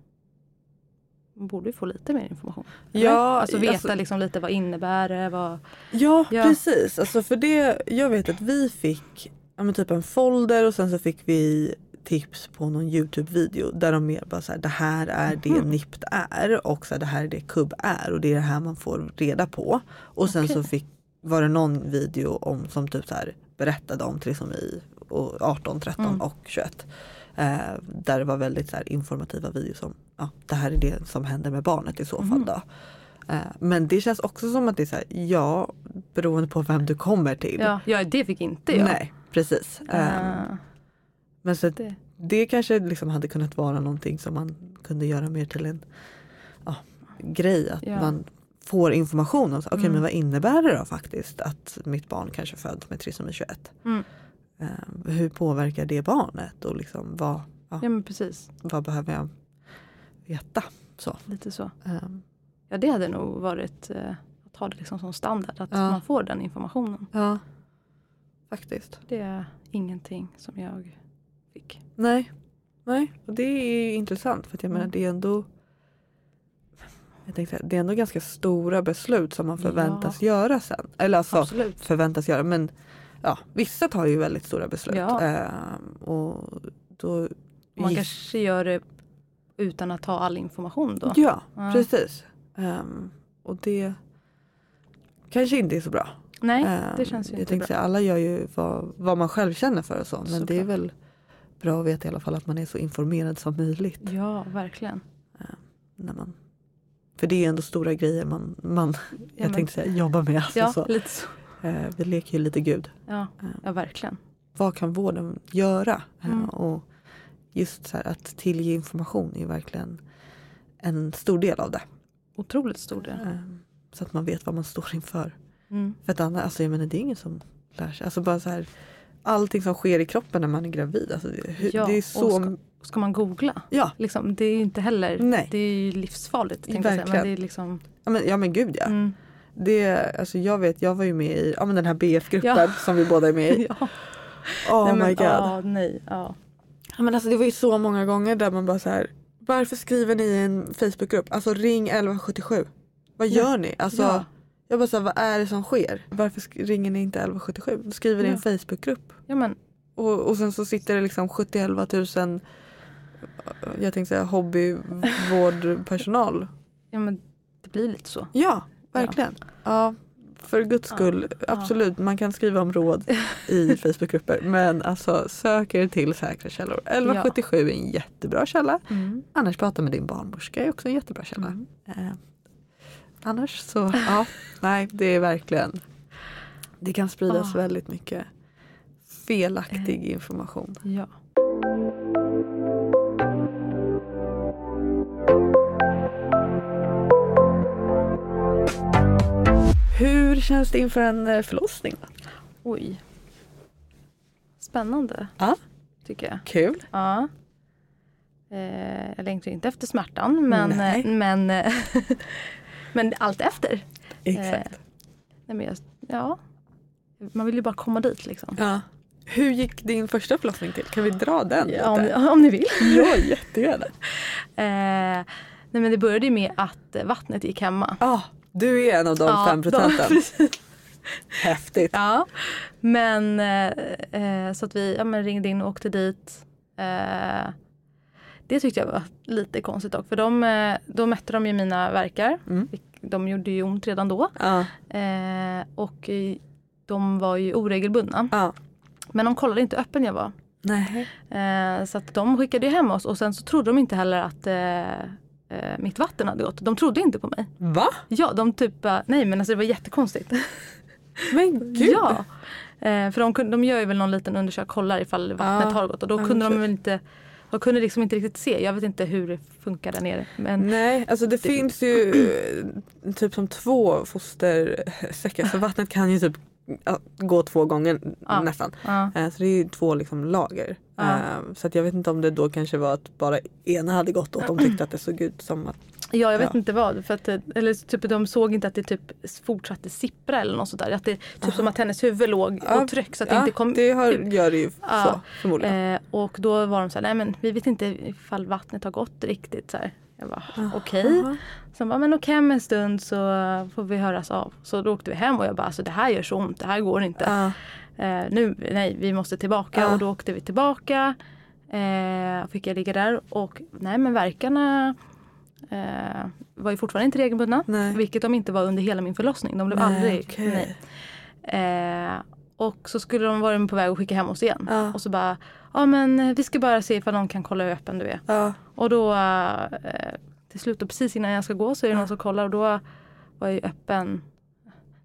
[SPEAKER 3] man borde ju få lite mer information.
[SPEAKER 2] Ja,
[SPEAKER 3] Eller? alltså veta
[SPEAKER 2] alltså-
[SPEAKER 3] liksom lite vad innebär det, vad...
[SPEAKER 2] Ja,
[SPEAKER 3] Ja.
[SPEAKER 2] precis. Alltså, för det, jag vet att vi fick ja, men typ en folder och sen så fick vi tips på någon Youtube-video där de mer bara så här, det här är det
[SPEAKER 3] Mhm.
[SPEAKER 2] NIPT är och så här, det här är det KUB är och det är det här man får reda på. Och sen så
[SPEAKER 3] Okej.
[SPEAKER 2] fick, var det någon video om, som typ så här, berättade om trisomi och 18, 13
[SPEAKER 3] Mm.
[SPEAKER 2] och 21. Eh, där det var väldigt så här, informativa videos om ja, det här är det som händer med barnet i så fall.
[SPEAKER 3] Mm.
[SPEAKER 2] Då. Eh, Men det känns också som att det är så här, ja beroende på vem du kommer till.
[SPEAKER 3] Ja, ja, det fick inte jag.
[SPEAKER 2] Nej precis. Eh,
[SPEAKER 3] Eh,
[SPEAKER 2] Men så att
[SPEAKER 3] det-
[SPEAKER 2] det kanske liksom hade kunnat vara någonting som man kunde göra mer till en ja, grej. Att
[SPEAKER 3] Ja.
[SPEAKER 2] man får information om så, okej
[SPEAKER 3] Mm.
[SPEAKER 2] men vad innebär det då faktiskt att mitt barn kanske föds med trisomi 21.
[SPEAKER 3] Mm.
[SPEAKER 2] Eh, Hur påverkar det barnet och liksom vad, ja,
[SPEAKER 3] Ja men precis,
[SPEAKER 2] vad behöver jag veta? Så.
[SPEAKER 3] lite så.
[SPEAKER 2] Eh,
[SPEAKER 3] Ja det hade nog varit eh, att ha det liksom som standard, att
[SPEAKER 2] Ja.
[SPEAKER 3] man får den informationen.
[SPEAKER 2] Ja, faktiskt.
[SPEAKER 3] Det är ingenting som jag fick.
[SPEAKER 2] Nej. Nej, och det är ju intressant för att jag menar
[SPEAKER 3] Mm.
[SPEAKER 2] det är ändå jag tänkte, säga, det är ändå ganska stora beslut som man förväntas göra sen. Eller alltså
[SPEAKER 3] Absolut.
[SPEAKER 2] förväntas göra men ja, vissa tar ju väldigt stora beslut.
[SPEAKER 3] Ja.
[SPEAKER 2] Ehm, och då
[SPEAKER 3] Man
[SPEAKER 2] giss-
[SPEAKER 3] kanske gör det utan att ha all information då.
[SPEAKER 2] Ja,
[SPEAKER 3] Ja.
[SPEAKER 2] precis. Ehm, och det kanske inte är så bra.
[SPEAKER 3] Nej,
[SPEAKER 2] Ehm,
[SPEAKER 3] det känns ju
[SPEAKER 2] jag
[SPEAKER 3] inte
[SPEAKER 2] tänkte
[SPEAKER 3] bra.
[SPEAKER 2] säga, alla gör ju vad, vad man själv känner för och så. Men det är
[SPEAKER 3] Såklart.
[SPEAKER 2] väl bra att veta i alla fall att man är så informerad som möjligt.
[SPEAKER 3] Ja, verkligen.
[SPEAKER 2] När man, för det är ju ändå stora grejer man, man jag
[SPEAKER 3] men-
[SPEAKER 2] tänkte säga, jobbar med. Alltså,
[SPEAKER 3] Ja,
[SPEAKER 2] så.
[SPEAKER 3] lite så.
[SPEAKER 2] Ehm, vi leker ju lite gud.
[SPEAKER 3] Ja,
[SPEAKER 2] Ehm,
[SPEAKER 3] ja verkligen.
[SPEAKER 2] vad kan vården göra? Eh,
[SPEAKER 3] Mm.
[SPEAKER 2] Och just så här, att tillge information är verkligen en stor del av det.
[SPEAKER 3] Otroligt stor del.
[SPEAKER 2] Eh, Så att man vet vad man står inför.
[SPEAKER 3] Mm.
[SPEAKER 2] För att annars, alltså jag menar det är ingen som lär sig. Alltså bara så här, allting som sker i kroppen när man är gravid. Alltså, hur,
[SPEAKER 3] Ja,
[SPEAKER 2] det är
[SPEAKER 3] och
[SPEAKER 2] så...
[SPEAKER 3] ska- Ska man googla?
[SPEAKER 2] Ja,
[SPEAKER 3] Liksom, det är ju inte heller,
[SPEAKER 2] Nej.
[SPEAKER 3] det är ju livsfarligt. tänkte Jag säga. Men
[SPEAKER 2] Verkligen.
[SPEAKER 3] det är liksom,
[SPEAKER 2] ja, men, ja men gud ja.
[SPEAKER 3] mm,
[SPEAKER 2] Det, alltså, jag vet, jag var ju med i ja, men den här BF-gruppen
[SPEAKER 3] Ja.
[SPEAKER 2] som vi båda är med i.
[SPEAKER 3] ja.
[SPEAKER 2] Oh
[SPEAKER 3] nej,
[SPEAKER 2] my
[SPEAKER 3] men,
[SPEAKER 2] god.
[SPEAKER 3] Ja, nej, ja.
[SPEAKER 2] Ja, men alltså, det var ju så många gånger där man bara så här. Varför skriver ni i en Facebookgrupp? Alltså ring 1177. Vad
[SPEAKER 3] Ja.
[SPEAKER 2] gör ni? Alltså,
[SPEAKER 3] Ja.
[SPEAKER 2] Jag bara så här, vad är det som sker? Varför sk- ringer ni inte 1177? Då skriver ni i en Facebookgrupp.
[SPEAKER 3] ja men,
[SPEAKER 2] Och, och sen så sitter det liksom 71 000 jag tänkte säga hobbyvårdpersonal.
[SPEAKER 3] ja, men det blir lite så.
[SPEAKER 2] Ja, verkligen. Ja. för guds skull, absolut. Man kan skriva om råd i Facebookgrupper. Men alltså sök er till säkra källor. 1177 är en jättebra källa.
[SPEAKER 3] Mm.
[SPEAKER 2] Annars prata med din barnmorska är också en jättebra källa.
[SPEAKER 3] Mm.
[SPEAKER 2] Eh, annars så, ja, nej det är verkligen. Det kan spridas
[SPEAKER 3] Ah.
[SPEAKER 2] väldigt mycket felaktig information.
[SPEAKER 3] Ja.
[SPEAKER 2] Hur känns det inför en eh, förlossning? då?
[SPEAKER 3] Oj. Spännande.
[SPEAKER 2] Ja.
[SPEAKER 3] Tycker jag.
[SPEAKER 2] Kul.
[SPEAKER 3] Ja. Eh, jag längtar inte efter smärtan men,
[SPEAKER 2] Nej.
[SPEAKER 3] eh, men, eh, men allt efter.
[SPEAKER 2] Exakt.
[SPEAKER 3] Nej, men jag, ja. Man vill ju bara komma dit liksom.
[SPEAKER 2] Ja. Hur gick din första förlossning till? Kan vi dra den?
[SPEAKER 3] Ja,
[SPEAKER 2] lite?
[SPEAKER 3] om, om ni vill.
[SPEAKER 2] ja jättegärna.
[SPEAKER 3] Eh, nej, men det började ju med att eh, vattnet gick hemma.
[SPEAKER 2] Ah, du är en av de
[SPEAKER 3] Ja,
[SPEAKER 2] fem
[SPEAKER 3] de-
[SPEAKER 2] procenten.
[SPEAKER 3] precis.
[SPEAKER 2] Häftigt.
[SPEAKER 3] Ja, men eh, eh, så att vi ja, men ringde in och åkte dit. Eh, det tyckte jag var lite konstigt dock, för de, eh, då mätte de ju mina verkar.
[SPEAKER 2] Mm.
[SPEAKER 3] De gjorde ju ont redan då
[SPEAKER 2] Ja.
[SPEAKER 3] eh, och eh, de var ju oregelbundna.
[SPEAKER 2] Ja.
[SPEAKER 3] Men de kollade inte hur öppen jag var.
[SPEAKER 2] Nej.
[SPEAKER 3] Eh, så att de skickade ju hem oss och sen så trodde de inte heller att eh, eh, mitt vatten hade gått. De trodde inte på mig.
[SPEAKER 2] Va?
[SPEAKER 3] Ja, de typ bara, nej men alltså det var jättekonstigt.
[SPEAKER 2] Men gud.
[SPEAKER 3] Ja. Eh, för de, kunde, de gör ju väl någon liten undersökning, kollar ifall vattnet
[SPEAKER 2] Ja,
[SPEAKER 3] har gått och då
[SPEAKER 2] ja,
[SPEAKER 3] kunde de
[SPEAKER 2] precis.
[SPEAKER 3] väl inte de kunde liksom inte riktigt se. Jag vet inte hur det funkar där nere. Men
[SPEAKER 2] Nej, alltså det, finns ju eh, typ som två fostersäckar så vattnet kan ju typ ja, gå två gånger
[SPEAKER 3] Ja.
[SPEAKER 2] nästan.
[SPEAKER 3] ja,
[SPEAKER 2] Eh, Så det är ju två liksom lager.
[SPEAKER 3] Ja.
[SPEAKER 2] Eh, Så att jag vet inte om det då kanske var att bara ena hade gått och de tyckte att det såg ut som att
[SPEAKER 3] ja jag vet
[SPEAKER 2] Ja.
[SPEAKER 3] inte vad. För att, eh, eller typ, de såg inte att det typ fortsatte sippra eller något sådär. Att det typ som att hennes huvud låg
[SPEAKER 2] Ja,
[SPEAKER 3] och tryck så att det
[SPEAKER 2] ja,
[SPEAKER 3] inte kom
[SPEAKER 2] det har,
[SPEAKER 3] ut.
[SPEAKER 2] gör det ju så
[SPEAKER 3] Ja.
[SPEAKER 2] förmodligen.
[SPEAKER 3] Eh, och då var de så här, nej men vi vet inte ifall vattnet har gått riktigt. Så här. Jag bara, okej.
[SPEAKER 2] Jaha.
[SPEAKER 3] Så de bara, men åk hem en stund så får vi höras av. Så då åkte vi hem och jag bara, alltså det här gör så ont, det här går inte.
[SPEAKER 2] Ja.
[SPEAKER 3] Eh, nu, nej, vi måste tillbaka.
[SPEAKER 2] Ja.
[SPEAKER 3] Och då åkte vi tillbaka. Eh, fick jag ligga där och nej men verkarna eh, var ju fortfarande inte regelbundna.
[SPEAKER 2] Nej.
[SPEAKER 3] Vilket de inte var under hela min förlossning. De blev
[SPEAKER 2] Nej,
[SPEAKER 3] aldrig,
[SPEAKER 2] okej.
[SPEAKER 3] nej. Eh, och så skulle de vara på väg att skicka hem oss igen.
[SPEAKER 2] Ja.
[SPEAKER 3] Och så bara, ja men eh, vi ska bara se ifall någon kan kolla hur öppen du är.
[SPEAKER 2] Ja.
[SPEAKER 3] Och då eh, till slut, och precis innan jag ska gå så är det någon som kollar och då var jag ju öppen.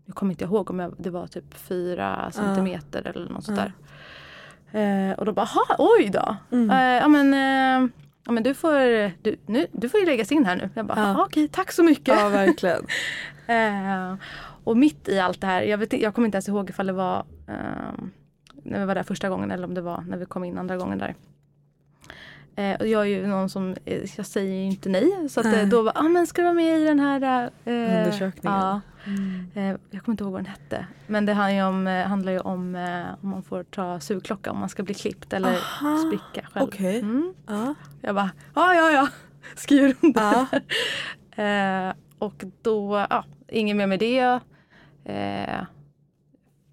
[SPEAKER 3] Nu kommer inte jag ihåg om jag, det var typ fyra centimeter eller något sånt där. Eh, och då bara, "Jaha, oj då.
[SPEAKER 2] Mm.
[SPEAKER 3] Eh, ja men, eh, ja, men du, får, du, nu, du får ju läggas in här nu. Jag bara,
[SPEAKER 2] Ja.
[SPEAKER 3] "Ja, okej tack så mycket.
[SPEAKER 2] ja, verkligen.
[SPEAKER 3] Eh, och mitt i allt det här, jag, vet, inte- jag kommer inte ens ihåg ifall det var ehm, när vi var där första gången eller om det var när vi kom in andra gången där. Eh, och jag är ju någon som, eh, jag säger ju inte nej. Så att, eh,
[SPEAKER 2] Nej.
[SPEAKER 3] då var, ah, men ska du vara med i den här eh,
[SPEAKER 2] Undersökningen. Mm.
[SPEAKER 3] Ja. Eh, jag kommer inte ihåg vad den hette. Men det handlar ju om, eh, handlar ju om eh, om man får ta sugklocka om man ska bli klippt eller
[SPEAKER 2] Aha,
[SPEAKER 3] spricka själv.
[SPEAKER 2] Okej.
[SPEAKER 3] Mm.
[SPEAKER 2] Ja.
[SPEAKER 3] Jag bara, ja ja ja, skriver under.
[SPEAKER 2] Ja.
[SPEAKER 3] Eh, och då, ja, inget mer med det. Eh,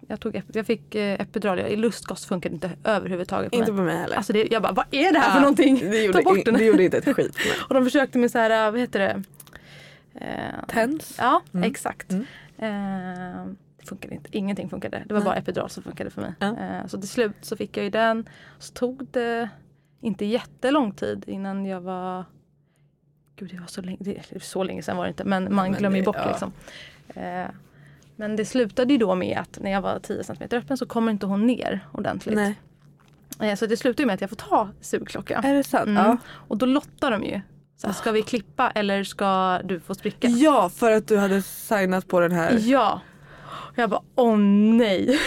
[SPEAKER 3] Jag, tog ep- jag fick eh, epidural, jag- lustgas funkade inte överhuvudtaget på
[SPEAKER 2] Inte
[SPEAKER 3] mig.
[SPEAKER 2] på mig heller.
[SPEAKER 3] Alltså det, jag bara, vad är det här
[SPEAKER 2] Ja,
[SPEAKER 3] för någonting?
[SPEAKER 2] Det gjorde,
[SPEAKER 3] bort den.
[SPEAKER 2] det gjorde inte ett skit för mig.
[SPEAKER 3] Och de försökte med så här, vad heter det? Eh,
[SPEAKER 2] Tens.
[SPEAKER 3] Ja,
[SPEAKER 2] Mm.
[SPEAKER 3] exakt.
[SPEAKER 2] Mm.
[SPEAKER 3] Eh, det funkade inte. Ingenting funkade. Det var
[SPEAKER 2] Nej.
[SPEAKER 3] bara epidural som funkade för mig.
[SPEAKER 2] Ja.
[SPEAKER 3] Eh, så till slut så fick jag ju den. Så tog det inte jättelång tid innan jag var... Gud, det var så länge, det, så länge sedan var det inte. Men man
[SPEAKER 2] Men
[SPEAKER 3] glömmer ju
[SPEAKER 2] det-
[SPEAKER 3] bort
[SPEAKER 2] ja.
[SPEAKER 3] liksom. Eh, men det slutade ju då med att när jag var 10 cm öppen så kommer inte hon ner ordentligt.
[SPEAKER 2] Nej.
[SPEAKER 3] Eh, Så det slutar ju med att jag får ta sugklocka.
[SPEAKER 2] Är det sant?
[SPEAKER 3] Mm.
[SPEAKER 2] Ja.
[SPEAKER 3] Och då lottar de ju. Så här, ska vi klippa eller ska du få spricka?
[SPEAKER 2] ja, för att du hade signat på den här.
[SPEAKER 3] Ja. Och jag bara, åh nej.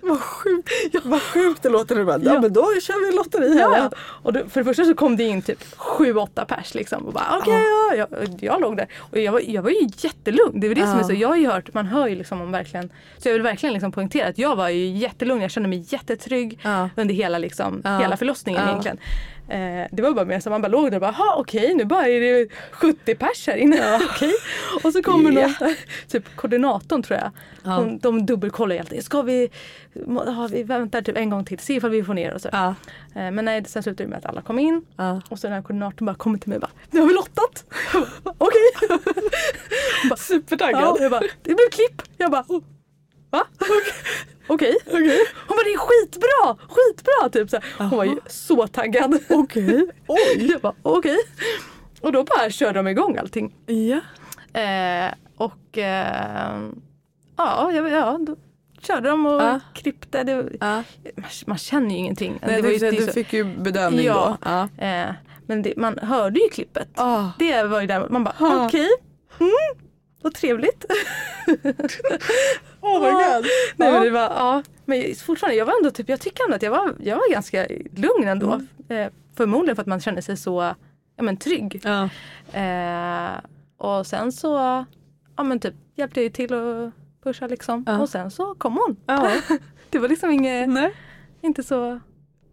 [SPEAKER 2] Vad sjukt, vad sjukt det låter. Du bara, ja.
[SPEAKER 3] Ja.
[SPEAKER 2] men då kör vi lotteri här.
[SPEAKER 3] Ja, ja. Och då, för det första så kom det in typ sju, åtta pers liksom. Och bara, okej, ja. jag, jag låg där. Och jag var, jag var ju jättelugn. Det är väl det som är
[SPEAKER 2] Ja.
[SPEAKER 3] så. Jag har ju hört, man hör ju liksom om verkligen. Så jag vill verkligen liksom poängtera att jag var ju jättelugn. Jag kände mig jättetrygg
[SPEAKER 2] Ja.
[SPEAKER 3] under hela, liksom,
[SPEAKER 2] Ja.
[SPEAKER 3] hela förlossningen
[SPEAKER 2] Ja.
[SPEAKER 3] egentligen. Eh, det var bara mer så man bara låg där och bara, "Ha, okej nu bara är det 70 pers här inne. Okej. Och så kommer någon, så här, typ koordinatorn tror jag.
[SPEAKER 2] Ja.
[SPEAKER 3] Hon, de dubbelkollar ju alltid. Ska vi, må- ja, vi väntar typ en gång till, se ifall vi får ner och så.
[SPEAKER 2] Ja.
[SPEAKER 3] Eh, Men nej, sen slutade det med att alla kom in
[SPEAKER 2] Ja.
[SPEAKER 3] och så den här koordinatorn bara kommer till mig och bara Nu har vi lottat! Jag bara, Okej! Okay.
[SPEAKER 2] Supertaggad.
[SPEAKER 3] Ja, jag bara, det blev klipp! Jag bara "Oh, Va? Okej. Hon bara det är skitbra! Skitbra! Typ så här. Hon var ju så taggad. Okej. Oj! Jag bara okej. Och då bara körde de igång allting.
[SPEAKER 2] Ja.
[SPEAKER 3] Eh, och eh, ja, ja, ja, då körde de och
[SPEAKER 2] Ja.
[SPEAKER 3] klippte. Det,
[SPEAKER 2] Ja.
[SPEAKER 3] man, man känner ju ingenting.
[SPEAKER 2] Nej,
[SPEAKER 3] var
[SPEAKER 2] du,
[SPEAKER 3] ju- det är
[SPEAKER 2] du
[SPEAKER 3] så-
[SPEAKER 2] fick ju bedömning
[SPEAKER 3] Ja.
[SPEAKER 2] då. Ja.
[SPEAKER 3] Eh, men det, man hörde ju klippet.
[SPEAKER 2] Ah.
[SPEAKER 3] Det var ju där man bara
[SPEAKER 2] Ja.
[SPEAKER 3] okej, mm, vad trevligt.
[SPEAKER 2] Oh
[SPEAKER 3] my
[SPEAKER 2] god.
[SPEAKER 3] Ah. Nej, men det var, ja. men fortfarande, jag var ändå typ, jag tycker ändå att jag var, jag var ganska lugn ändå.
[SPEAKER 2] Mm.
[SPEAKER 3] Eh, förmodligen för att man kände sig så ja, men, trygg.
[SPEAKER 2] Ja.
[SPEAKER 3] Eh, och sen så ja, men typ, hjälpte jag ju till att pusha liksom.
[SPEAKER 2] Ja.
[SPEAKER 3] Och sen så kom hon.
[SPEAKER 2] Ja.
[SPEAKER 3] Det var liksom inget,
[SPEAKER 2] Nej.
[SPEAKER 3] inte så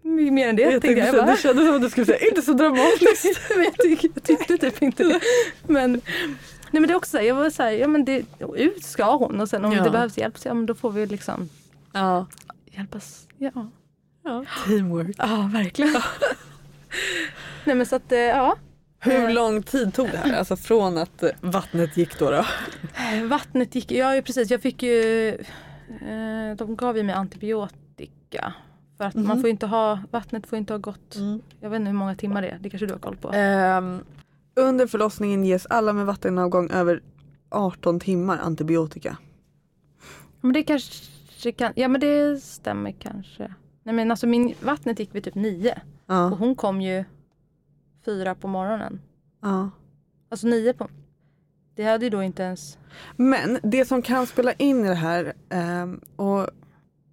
[SPEAKER 3] mycket mer än det.
[SPEAKER 2] Jag tänkte,
[SPEAKER 3] jag.
[SPEAKER 2] säga,
[SPEAKER 3] bara.
[SPEAKER 2] det kändes som att du skulle säga inte så dramatiskt.
[SPEAKER 3] Men jag, tyck, jag tyckte typ inte det. Men, nej men det är också så här, jag var så här, ja men det, ut ska hon och sen om
[SPEAKER 2] Ja.
[SPEAKER 3] det behövs hjälp så ja, men då får vi liksom
[SPEAKER 2] Ja.
[SPEAKER 3] hjälpas. Ja,
[SPEAKER 2] Teamwork.
[SPEAKER 3] ja verkligen. nej men så att eh, ja,
[SPEAKER 2] Hur lång tid tog det här? Alltså från att eh, vattnet gick då? då?
[SPEAKER 3] vattnet gick, ja ju precis jag fick ju, eh, de gav ju mig antibiotika. För att man
[SPEAKER 2] Mhm. Mm.
[SPEAKER 3] får ju inte ha, vattnet får ju inte ha gått, jag vet inte hur många timmar det är, det kanske du har koll på?
[SPEAKER 2] Ehm, under förlossningen ges alla med vattenavgång över 18 timmar antibiotika.
[SPEAKER 3] Men det kanske kan, ja men det stämmer kanske. Nej men alltså min, vattnet gick vid typ nio. Och
[SPEAKER 2] Ja.
[SPEAKER 3] hon kom ju fyra på morgonen.
[SPEAKER 2] ja.
[SPEAKER 3] Alltså nio på... Det hade ju då inte ens...
[SPEAKER 2] Men det som kan spela in i det här, ehm, och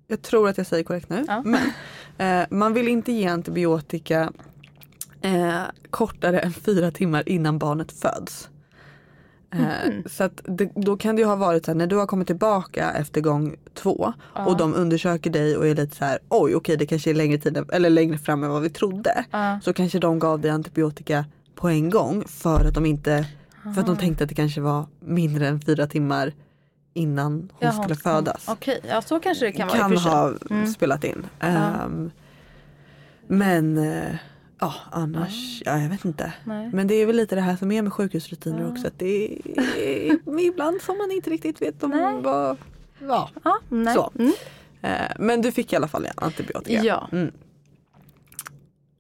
[SPEAKER 2] jag tror att jag säger korrekt nu,
[SPEAKER 3] Ja.
[SPEAKER 2] men eh, man vill inte ge antibiotika eh, kortare än fyra timmar innan barnet föds. Eh,
[SPEAKER 3] Mhm.
[SPEAKER 2] Så att det, då kan det ju ha varit så här, när du har kommit tillbaka efter gång två
[SPEAKER 3] Ja.
[SPEAKER 2] och de undersöker dig och är lite så här, oj okej det kanske är längre, tid, eller längre fram än vad vi trodde.
[SPEAKER 3] Ja.
[SPEAKER 2] Så kanske de gav dig antibiotika på en gång för att de inte för
[SPEAKER 3] Ah.
[SPEAKER 2] att de tänkte att det kanske var mindre än fyra timmar innan hon
[SPEAKER 3] Jaha,
[SPEAKER 2] skulle
[SPEAKER 3] hon-
[SPEAKER 2] födas.
[SPEAKER 3] Okej, ja så kanske det kan,
[SPEAKER 2] Kan,
[SPEAKER 3] vara i och för sig.
[SPEAKER 2] ha
[SPEAKER 3] Mm.
[SPEAKER 2] spelat in. Ehm, men eh, ja, annars, ja. jag vet inte.
[SPEAKER 3] Nej.
[SPEAKER 2] Men det är väl lite det här som är med sjukhusrutiner också. Att det är ibland som man inte riktigt vet om
[SPEAKER 3] Nej.
[SPEAKER 2] vad... Ja.
[SPEAKER 3] Ja, nej.
[SPEAKER 2] Så.
[SPEAKER 3] Mm.
[SPEAKER 2] Eh, men du fick i alla fall antibiotika.
[SPEAKER 3] Ja.
[SPEAKER 2] Mm.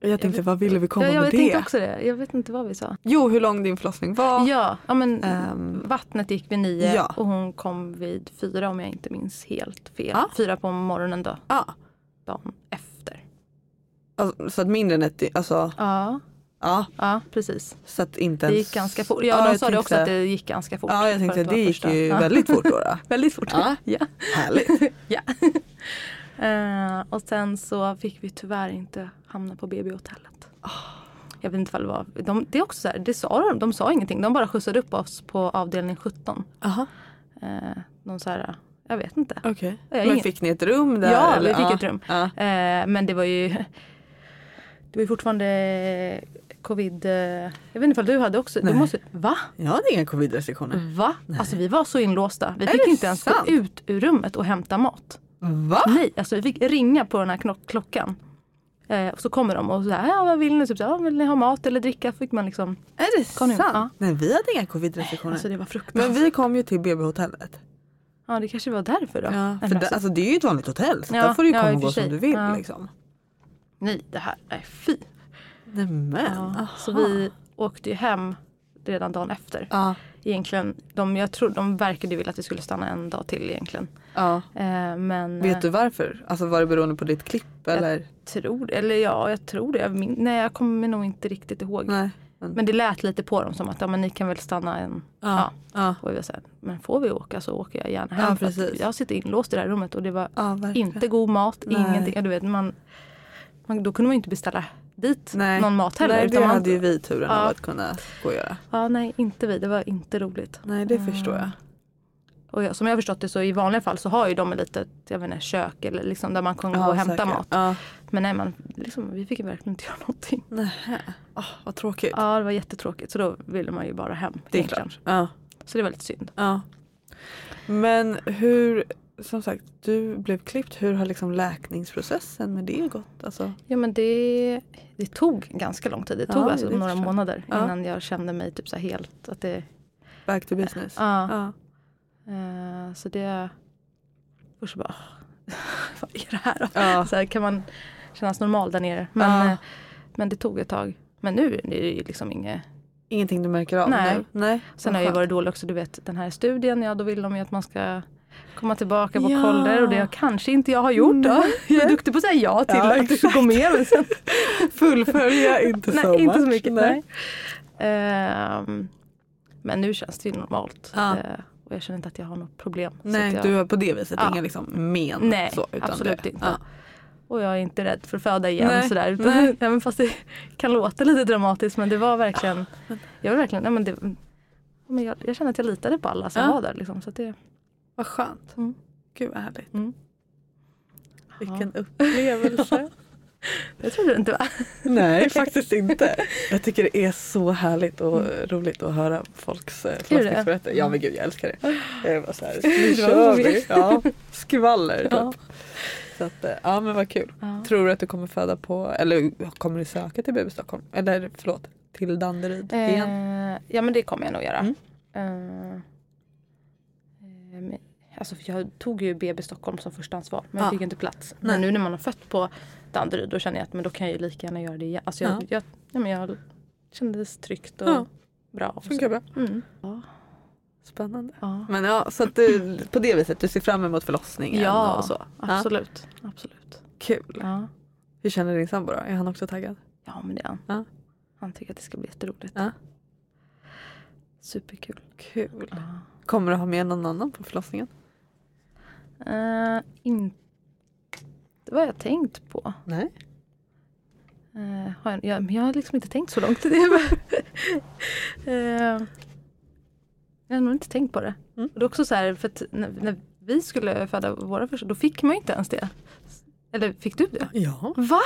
[SPEAKER 2] Jag tänkte, vad ville vi komma
[SPEAKER 3] Jag, jag
[SPEAKER 2] med
[SPEAKER 3] tänkte
[SPEAKER 2] det?
[SPEAKER 3] också det. Jag vet inte vad vi sa.
[SPEAKER 2] Jo, hur lång din förlossning var.
[SPEAKER 3] Ja, ja men
[SPEAKER 2] Ehm,
[SPEAKER 3] vattnet gick vid nio
[SPEAKER 2] ja.
[SPEAKER 3] och hon kom vid fyra om jag inte minns helt fel.
[SPEAKER 2] Ja.
[SPEAKER 3] Fyra på morgonen då,
[SPEAKER 2] ja.
[SPEAKER 3] dagen efter.
[SPEAKER 2] Alltså, så att mindre än ett, alltså
[SPEAKER 3] Ja,
[SPEAKER 2] ja.
[SPEAKER 3] ja precis.
[SPEAKER 2] Så att inte
[SPEAKER 3] Det
[SPEAKER 2] ens...
[SPEAKER 3] gick ganska fort.
[SPEAKER 2] Ja,
[SPEAKER 3] Ja, de
[SPEAKER 2] jag
[SPEAKER 3] sa det också
[SPEAKER 2] tänkte-
[SPEAKER 3] att det gick ganska fort.
[SPEAKER 2] Ja, jag
[SPEAKER 3] för
[SPEAKER 2] tänkte
[SPEAKER 3] att
[SPEAKER 2] att det
[SPEAKER 3] vara
[SPEAKER 2] gick
[SPEAKER 3] första.
[SPEAKER 2] ju
[SPEAKER 3] Ja.
[SPEAKER 2] väldigt fort då. då.
[SPEAKER 3] Väldigt fort.
[SPEAKER 2] Ja.
[SPEAKER 3] Ja.
[SPEAKER 2] Härligt.
[SPEAKER 3] Ja. Eh, och sen så fick vi tyvärr inte hamna på BB-hotellet.
[SPEAKER 2] Ah.
[SPEAKER 3] Jag vet inte vad det var. De, det är också så här, det sa de, de sa ingenting. De bara skjutsade upp oss på avdelning 17.
[SPEAKER 2] Aha,
[SPEAKER 3] Eh, de så här, jag vet inte.
[SPEAKER 2] okej.
[SPEAKER 3] Jag har
[SPEAKER 2] Men
[SPEAKER 3] ingen-
[SPEAKER 2] fick ni ett rum där?
[SPEAKER 3] Ja,
[SPEAKER 2] eller?
[SPEAKER 3] vi fick ett rum.
[SPEAKER 2] Ja.
[SPEAKER 3] Eh, men det var ju det var ju fortfarande covid. eh, Jag vet inte om du hade också. Du
[SPEAKER 2] Nej.
[SPEAKER 3] måste, va?
[SPEAKER 2] Jag hade inga covid-restriktioner.
[SPEAKER 3] Va? Alltså vi var så inlåsta. Vi
[SPEAKER 2] Är
[SPEAKER 3] fick
[SPEAKER 2] det
[SPEAKER 3] inte ens
[SPEAKER 2] sant? Ah.
[SPEAKER 3] gå ut ur rummet och hämta mat.
[SPEAKER 4] Va?
[SPEAKER 3] Nej, alltså vi fick ringa på den här knock- klockan. Eh, och så kommer de och så här, ja vad vill ni? Typ så här, "Ja, vill ni ha mat eller dricka? Fick man liksom.
[SPEAKER 2] Är det
[SPEAKER 3] Kom igen.
[SPEAKER 2] sant? Nej vi hade inga covid-restriktioner.
[SPEAKER 3] Alltså det var fruktansvärt.
[SPEAKER 2] men vi kom ju till BB-hotellet.
[SPEAKER 3] Ja det kanske var därför då.
[SPEAKER 2] Ja, för
[SPEAKER 3] Eller
[SPEAKER 2] det,
[SPEAKER 3] alltså-
[SPEAKER 2] alltså, det är ju ett vanligt hotell så
[SPEAKER 3] Ja,
[SPEAKER 2] där får du ju
[SPEAKER 3] ja,
[SPEAKER 2] komma
[SPEAKER 3] i
[SPEAKER 2] och
[SPEAKER 3] och
[SPEAKER 2] gå
[SPEAKER 3] för
[SPEAKER 2] som
[SPEAKER 3] sig.
[SPEAKER 2] du vill.
[SPEAKER 3] Ja.
[SPEAKER 2] Liksom.
[SPEAKER 3] Nej det här, nej fy.
[SPEAKER 2] Nämen.
[SPEAKER 3] Ja,
[SPEAKER 2] Ja.
[SPEAKER 3] så vi åkte ju hem redan dagen efter.
[SPEAKER 2] Ja.
[SPEAKER 3] Egentligen, de, jag tror, de verkade ju vilja att vi skulle stanna en dag till egentligen. Eh, men eh,
[SPEAKER 2] Vet du varför? Alltså var det beroende på ditt klipp eller?
[SPEAKER 3] tror, eller ja, jag tror det. Jag min, nej, jag kommer nog inte riktigt ihåg.
[SPEAKER 2] Nej.
[SPEAKER 3] Men det lät lite på dem som att ja, men ni kan väl stanna en...
[SPEAKER 2] Ja. Ja.
[SPEAKER 3] Och jag sa, men får vi åka så åker jag gärna
[SPEAKER 2] Ja,
[SPEAKER 3] hem. för att
[SPEAKER 2] precis.
[SPEAKER 3] jag sitter inlåst i det här rummet och det var
[SPEAKER 2] Ja, verkligen.
[SPEAKER 3] inte god mat,
[SPEAKER 2] Nej.
[SPEAKER 3] ingenting. Ja, Du vet, man, man, då kunde man ju inte beställa dit
[SPEAKER 2] Nej.
[SPEAKER 3] någon mat heller.
[SPEAKER 2] Nej det
[SPEAKER 3] utan man,
[SPEAKER 2] hade ju vi turen
[SPEAKER 3] Ja.
[SPEAKER 2] av att kunna gå och göra.
[SPEAKER 3] ja, nej, inte vi. Det var inte roligt.
[SPEAKER 2] Nej det förstår jag.
[SPEAKER 3] Mm. Och jag, som jag har förstått det så i vanliga fall så har ju de ett litet jag vet inte, kök eller liksom där man kan gå
[SPEAKER 2] Ja,
[SPEAKER 3] och hämta
[SPEAKER 2] säkert.
[SPEAKER 3] mat.
[SPEAKER 2] Ja.
[SPEAKER 3] Men nej, man, liksom, vi fick ju verkligen inte göra någonting.
[SPEAKER 2] Nähä. Oh, vad tråkigt.
[SPEAKER 3] Ja, det var jättetråkigt. Så då ville man ju bara hem.
[SPEAKER 2] det är
[SPEAKER 3] egentligen.
[SPEAKER 2] klart. Ja.
[SPEAKER 3] Så det var lite synd.
[SPEAKER 2] Ja. Men hur, som sagt, du blev klippt. Hur har liksom läkningsprocessen med det gått? Alltså,
[SPEAKER 3] Ja, men det, det tog ganska lång tid. Det
[SPEAKER 2] Ja,
[SPEAKER 3] tog alltså
[SPEAKER 2] det
[SPEAKER 3] några
[SPEAKER 2] förstår jag.
[SPEAKER 3] månader
[SPEAKER 2] Ja.
[SPEAKER 3] innan jag kände mig typ så här helt att det...
[SPEAKER 2] back to business.
[SPEAKER 3] Ja.
[SPEAKER 2] Ja.
[SPEAKER 3] Eh, så det... Först så bara... Vad är det här då?
[SPEAKER 2] Ja.
[SPEAKER 3] Så här, kan man kännas normal där nere? Men,
[SPEAKER 2] Ja.
[SPEAKER 3] eh, men det tog ett tag. Men nu är det ju liksom inget...
[SPEAKER 2] Ingenting du märker av
[SPEAKER 3] Nej.
[SPEAKER 2] nu? Nej.
[SPEAKER 3] Sen har jag ju varit dålig också, du vet den här studien, ja då vill de ju att man ska komma tillbaka på koller och det har kanske inte jag har gjort. Då. Jag är duktig på att säga ja till
[SPEAKER 2] Ja,
[SPEAKER 3] att gå med. Men sen,
[SPEAKER 2] Fullfölja inte
[SPEAKER 3] nej,
[SPEAKER 2] så
[SPEAKER 3] inte så
[SPEAKER 2] much.
[SPEAKER 3] mycket. Nej. Ehm, men nu känns det ju normalt.
[SPEAKER 2] Ja.
[SPEAKER 3] Eh, och jag känner inte att jag har något problem. Så
[SPEAKER 2] Nej,
[SPEAKER 3] att jag,
[SPEAKER 2] du har på det viset
[SPEAKER 3] Ja.
[SPEAKER 2] inga liksom men.
[SPEAKER 3] nej
[SPEAKER 2] så, utan
[SPEAKER 3] absolut
[SPEAKER 2] det.
[SPEAKER 3] inte.
[SPEAKER 2] Ja.
[SPEAKER 3] Och jag är inte rädd för att föda igen.
[SPEAKER 2] Nej,
[SPEAKER 3] Sådär. Utan,
[SPEAKER 2] nej.
[SPEAKER 3] nej, men fast det kan låta lite dramatiskt men det var verkligen, jag var verkligen, nej, men det, men jag, jag kände att jag litade på alla som
[SPEAKER 2] Ja.
[SPEAKER 3] var där. Liksom, så att det,
[SPEAKER 2] Vad skönt.
[SPEAKER 3] Mm.
[SPEAKER 2] Gud vad härligt.
[SPEAKER 3] Mm.
[SPEAKER 2] Vilken upplevelse.
[SPEAKER 3] Jag trodde det inte var.
[SPEAKER 2] Nej faktiskt inte. Jag tycker det är så härligt och roligt att höra folks eh,
[SPEAKER 3] Mm. du det?
[SPEAKER 2] förlossningsberättelser. Ja men gud jag älskar det. Jag bara såhär, nu
[SPEAKER 3] Det var
[SPEAKER 2] kör
[SPEAKER 3] så
[SPEAKER 2] vi.
[SPEAKER 3] roligt.
[SPEAKER 2] Ja, skvaller
[SPEAKER 3] Ja.
[SPEAKER 2] typ. Så att, eh, ja men vad kul. Tror du att du kommer föda på, eller kommer du söka till BB Stockholm? Eller förlåt, till Danderyd igen?
[SPEAKER 3] Eh, ja men det kommer jag nog göra.
[SPEAKER 2] Mm.
[SPEAKER 3] Eh, eh, men, alltså, för jag tog ju BB Stockholm som förstahandsval men
[SPEAKER 2] Ja.
[SPEAKER 3] jag fick ju inte plats.
[SPEAKER 2] Nej.
[SPEAKER 3] Men nu när man har fött på Danderyd då känner jag att men då kan jag ju lika gärna göra det igen. Alltså, jag,
[SPEAKER 2] Ja.
[SPEAKER 3] ja. Jag, ja, men jag kändes tryggt och
[SPEAKER 2] Ja.
[SPEAKER 3] bra. Och så.
[SPEAKER 2] Funkar bra.
[SPEAKER 3] Mm.
[SPEAKER 2] Spännande.
[SPEAKER 3] Ja,
[SPEAKER 2] Men ja, så att du, på det viset, du ser fram emot förlossningen
[SPEAKER 3] Ja,
[SPEAKER 2] och så.
[SPEAKER 3] absolut. absolut.
[SPEAKER 2] Kul.
[SPEAKER 3] Ja.
[SPEAKER 2] Hur känner din sambo då? Är han också taggad?
[SPEAKER 3] ja men det är han.
[SPEAKER 2] Ja.
[SPEAKER 3] Han tycker att det ska bli jätteroligt.
[SPEAKER 2] Ja.
[SPEAKER 3] Superkul.
[SPEAKER 2] Kul.
[SPEAKER 3] Ja.
[SPEAKER 2] Kommer du ha med någon annan på förlossningen?
[SPEAKER 3] Eh, inte vad jag tänkt på.
[SPEAKER 2] Nej.
[SPEAKER 3] Eh, har jag, jag, men jag har liksom inte tänkt så långt. Det är bara- Eh, jag har nog inte tänkt på det.
[SPEAKER 2] Mm.
[SPEAKER 3] Och det är också så här, för att när, när vi skulle föda våra första, då fick man ju inte ens det. Eller fick du det?
[SPEAKER 2] Ja.
[SPEAKER 3] Va?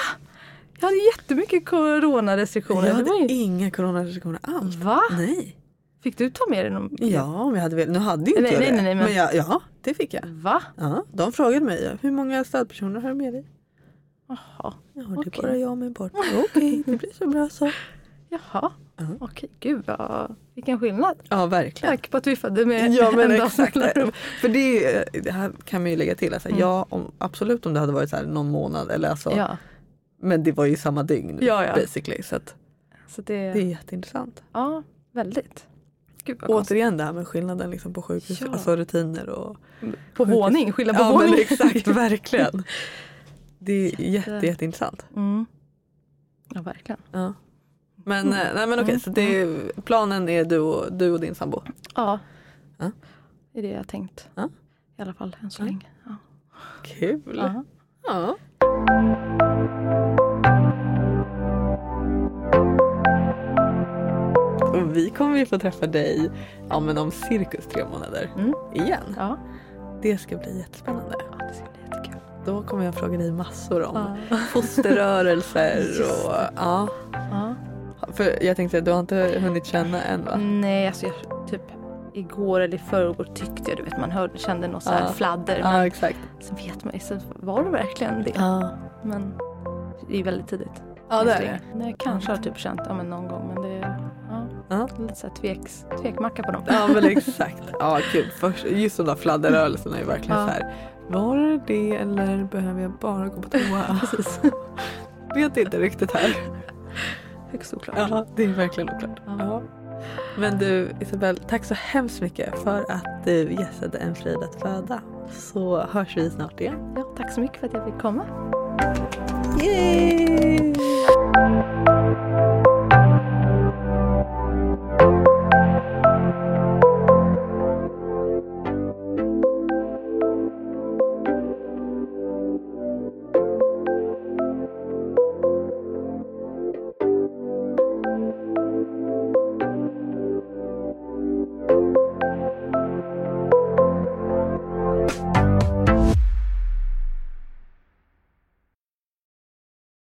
[SPEAKER 3] Jag hade jättemycket coronarestriktioner.
[SPEAKER 2] Jag
[SPEAKER 3] Det var
[SPEAKER 2] hade
[SPEAKER 3] ju,
[SPEAKER 2] inga coronarestriktioner alls.
[SPEAKER 3] va?
[SPEAKER 2] Nej.
[SPEAKER 3] Fick du ta med dig någon?
[SPEAKER 2] Ja, om jag hade velat. Nu hade ju inte
[SPEAKER 3] Nej,
[SPEAKER 2] jag
[SPEAKER 3] nej,
[SPEAKER 2] det.
[SPEAKER 3] nej, nej,
[SPEAKER 2] men
[SPEAKER 3] men-
[SPEAKER 2] jag, ja, det fick jag.
[SPEAKER 3] Va?
[SPEAKER 2] Ja, de frågade mig hur många stödpersoner har du med dig?
[SPEAKER 3] Jaha.
[SPEAKER 2] Ja, det
[SPEAKER 3] Okej.
[SPEAKER 2] är bara jag och min partner. Okej, det blir så bra så.
[SPEAKER 3] Jaha.
[SPEAKER 2] Ja.
[SPEAKER 3] Okej, gud vad, vilken skillnad.
[SPEAKER 2] Ja, verkligen.
[SPEAKER 3] Tack på att vi födde med
[SPEAKER 2] Ja men
[SPEAKER 3] en dags
[SPEAKER 2] exakt.
[SPEAKER 3] mellanrum.
[SPEAKER 2] För det, är- eh, det här kan man ju lägga till. Alltså,
[SPEAKER 3] Mm.
[SPEAKER 2] ja, om, absolut om det hade varit så här någon månad eller alltså,
[SPEAKER 3] Ja,
[SPEAKER 2] men det var ju samma dygn
[SPEAKER 3] Ja, ja.
[SPEAKER 2] basically. Så att
[SPEAKER 3] så det,
[SPEAKER 2] det är jätteintressant.
[SPEAKER 3] ja väldigt. Gud vad konstigt.
[SPEAKER 2] Återigen det här med skillnaden liksom, på sjukhus,
[SPEAKER 3] Ja.
[SPEAKER 2] alltså rutiner och
[SPEAKER 3] På
[SPEAKER 2] sjukhus.
[SPEAKER 3] våning, skillnad på
[SPEAKER 2] Ja
[SPEAKER 3] våning.
[SPEAKER 2] men exakt, verkligen. Det är jätte, jätteintressant.
[SPEAKER 3] Mm. Ja, verkligen.
[SPEAKER 2] Ja. Men, eh, nej, men okej, så det är, planen är du och, du och din sambo.
[SPEAKER 3] Ja.
[SPEAKER 2] Ja.
[SPEAKER 3] Det är det jag har tänkt.
[SPEAKER 2] Ja.
[SPEAKER 3] I alla fall än så
[SPEAKER 2] Ja.
[SPEAKER 3] länge. Ja.
[SPEAKER 2] Kul!
[SPEAKER 3] Ja.
[SPEAKER 2] Ja. Och vi kommer ju få träffa dig ja, men om cirkus tre månader
[SPEAKER 3] Mm.
[SPEAKER 2] igen.
[SPEAKER 3] Ja.
[SPEAKER 2] Det ska bli jättespännande.
[SPEAKER 3] ja, det ska bli jättekul.
[SPEAKER 2] Då kommer jag fråga dig massor om
[SPEAKER 3] Ja.
[SPEAKER 2] fosterrörelser
[SPEAKER 3] Just
[SPEAKER 2] och ja.
[SPEAKER 3] Ja.
[SPEAKER 2] För jag tänkte att du har inte hunnit känna än va?
[SPEAKER 3] Nej, alltså jag typ igår eller i förrgår tyckte jag, du vet man hörde, kände något så här
[SPEAKER 5] Ja.
[SPEAKER 3] fladder. Men
[SPEAKER 2] Ja exakt.
[SPEAKER 3] så vet man ju, så var det verkligen det?
[SPEAKER 5] Ja.
[SPEAKER 3] Men det är ju väldigt tidigt.
[SPEAKER 2] Ja det är det.
[SPEAKER 3] Nej, jag kanske har typ känt, ja men någon gång men det är ja,
[SPEAKER 2] Ja.
[SPEAKER 3] lite så här tveks, tvekmacka på dem.
[SPEAKER 2] Ja men exakt. Ja kul. Först, just de där fladderrörelserna är ju verkligen
[SPEAKER 3] Ja.
[SPEAKER 2] så här. Var det det eller behöver jag bara gå på toa?
[SPEAKER 3] Precis.
[SPEAKER 2] Vet inte riktigt här.
[SPEAKER 3] Högst oklart.
[SPEAKER 2] Ja, det är verkligen oklart.
[SPEAKER 3] Ja.
[SPEAKER 2] Ja. Men du Isabel, tack så hemskt mycket för att du gästade En frid att föda. Så hörs vi snart igen.
[SPEAKER 3] Ja, tack så mycket för att jag fick komma.
[SPEAKER 2] Yay!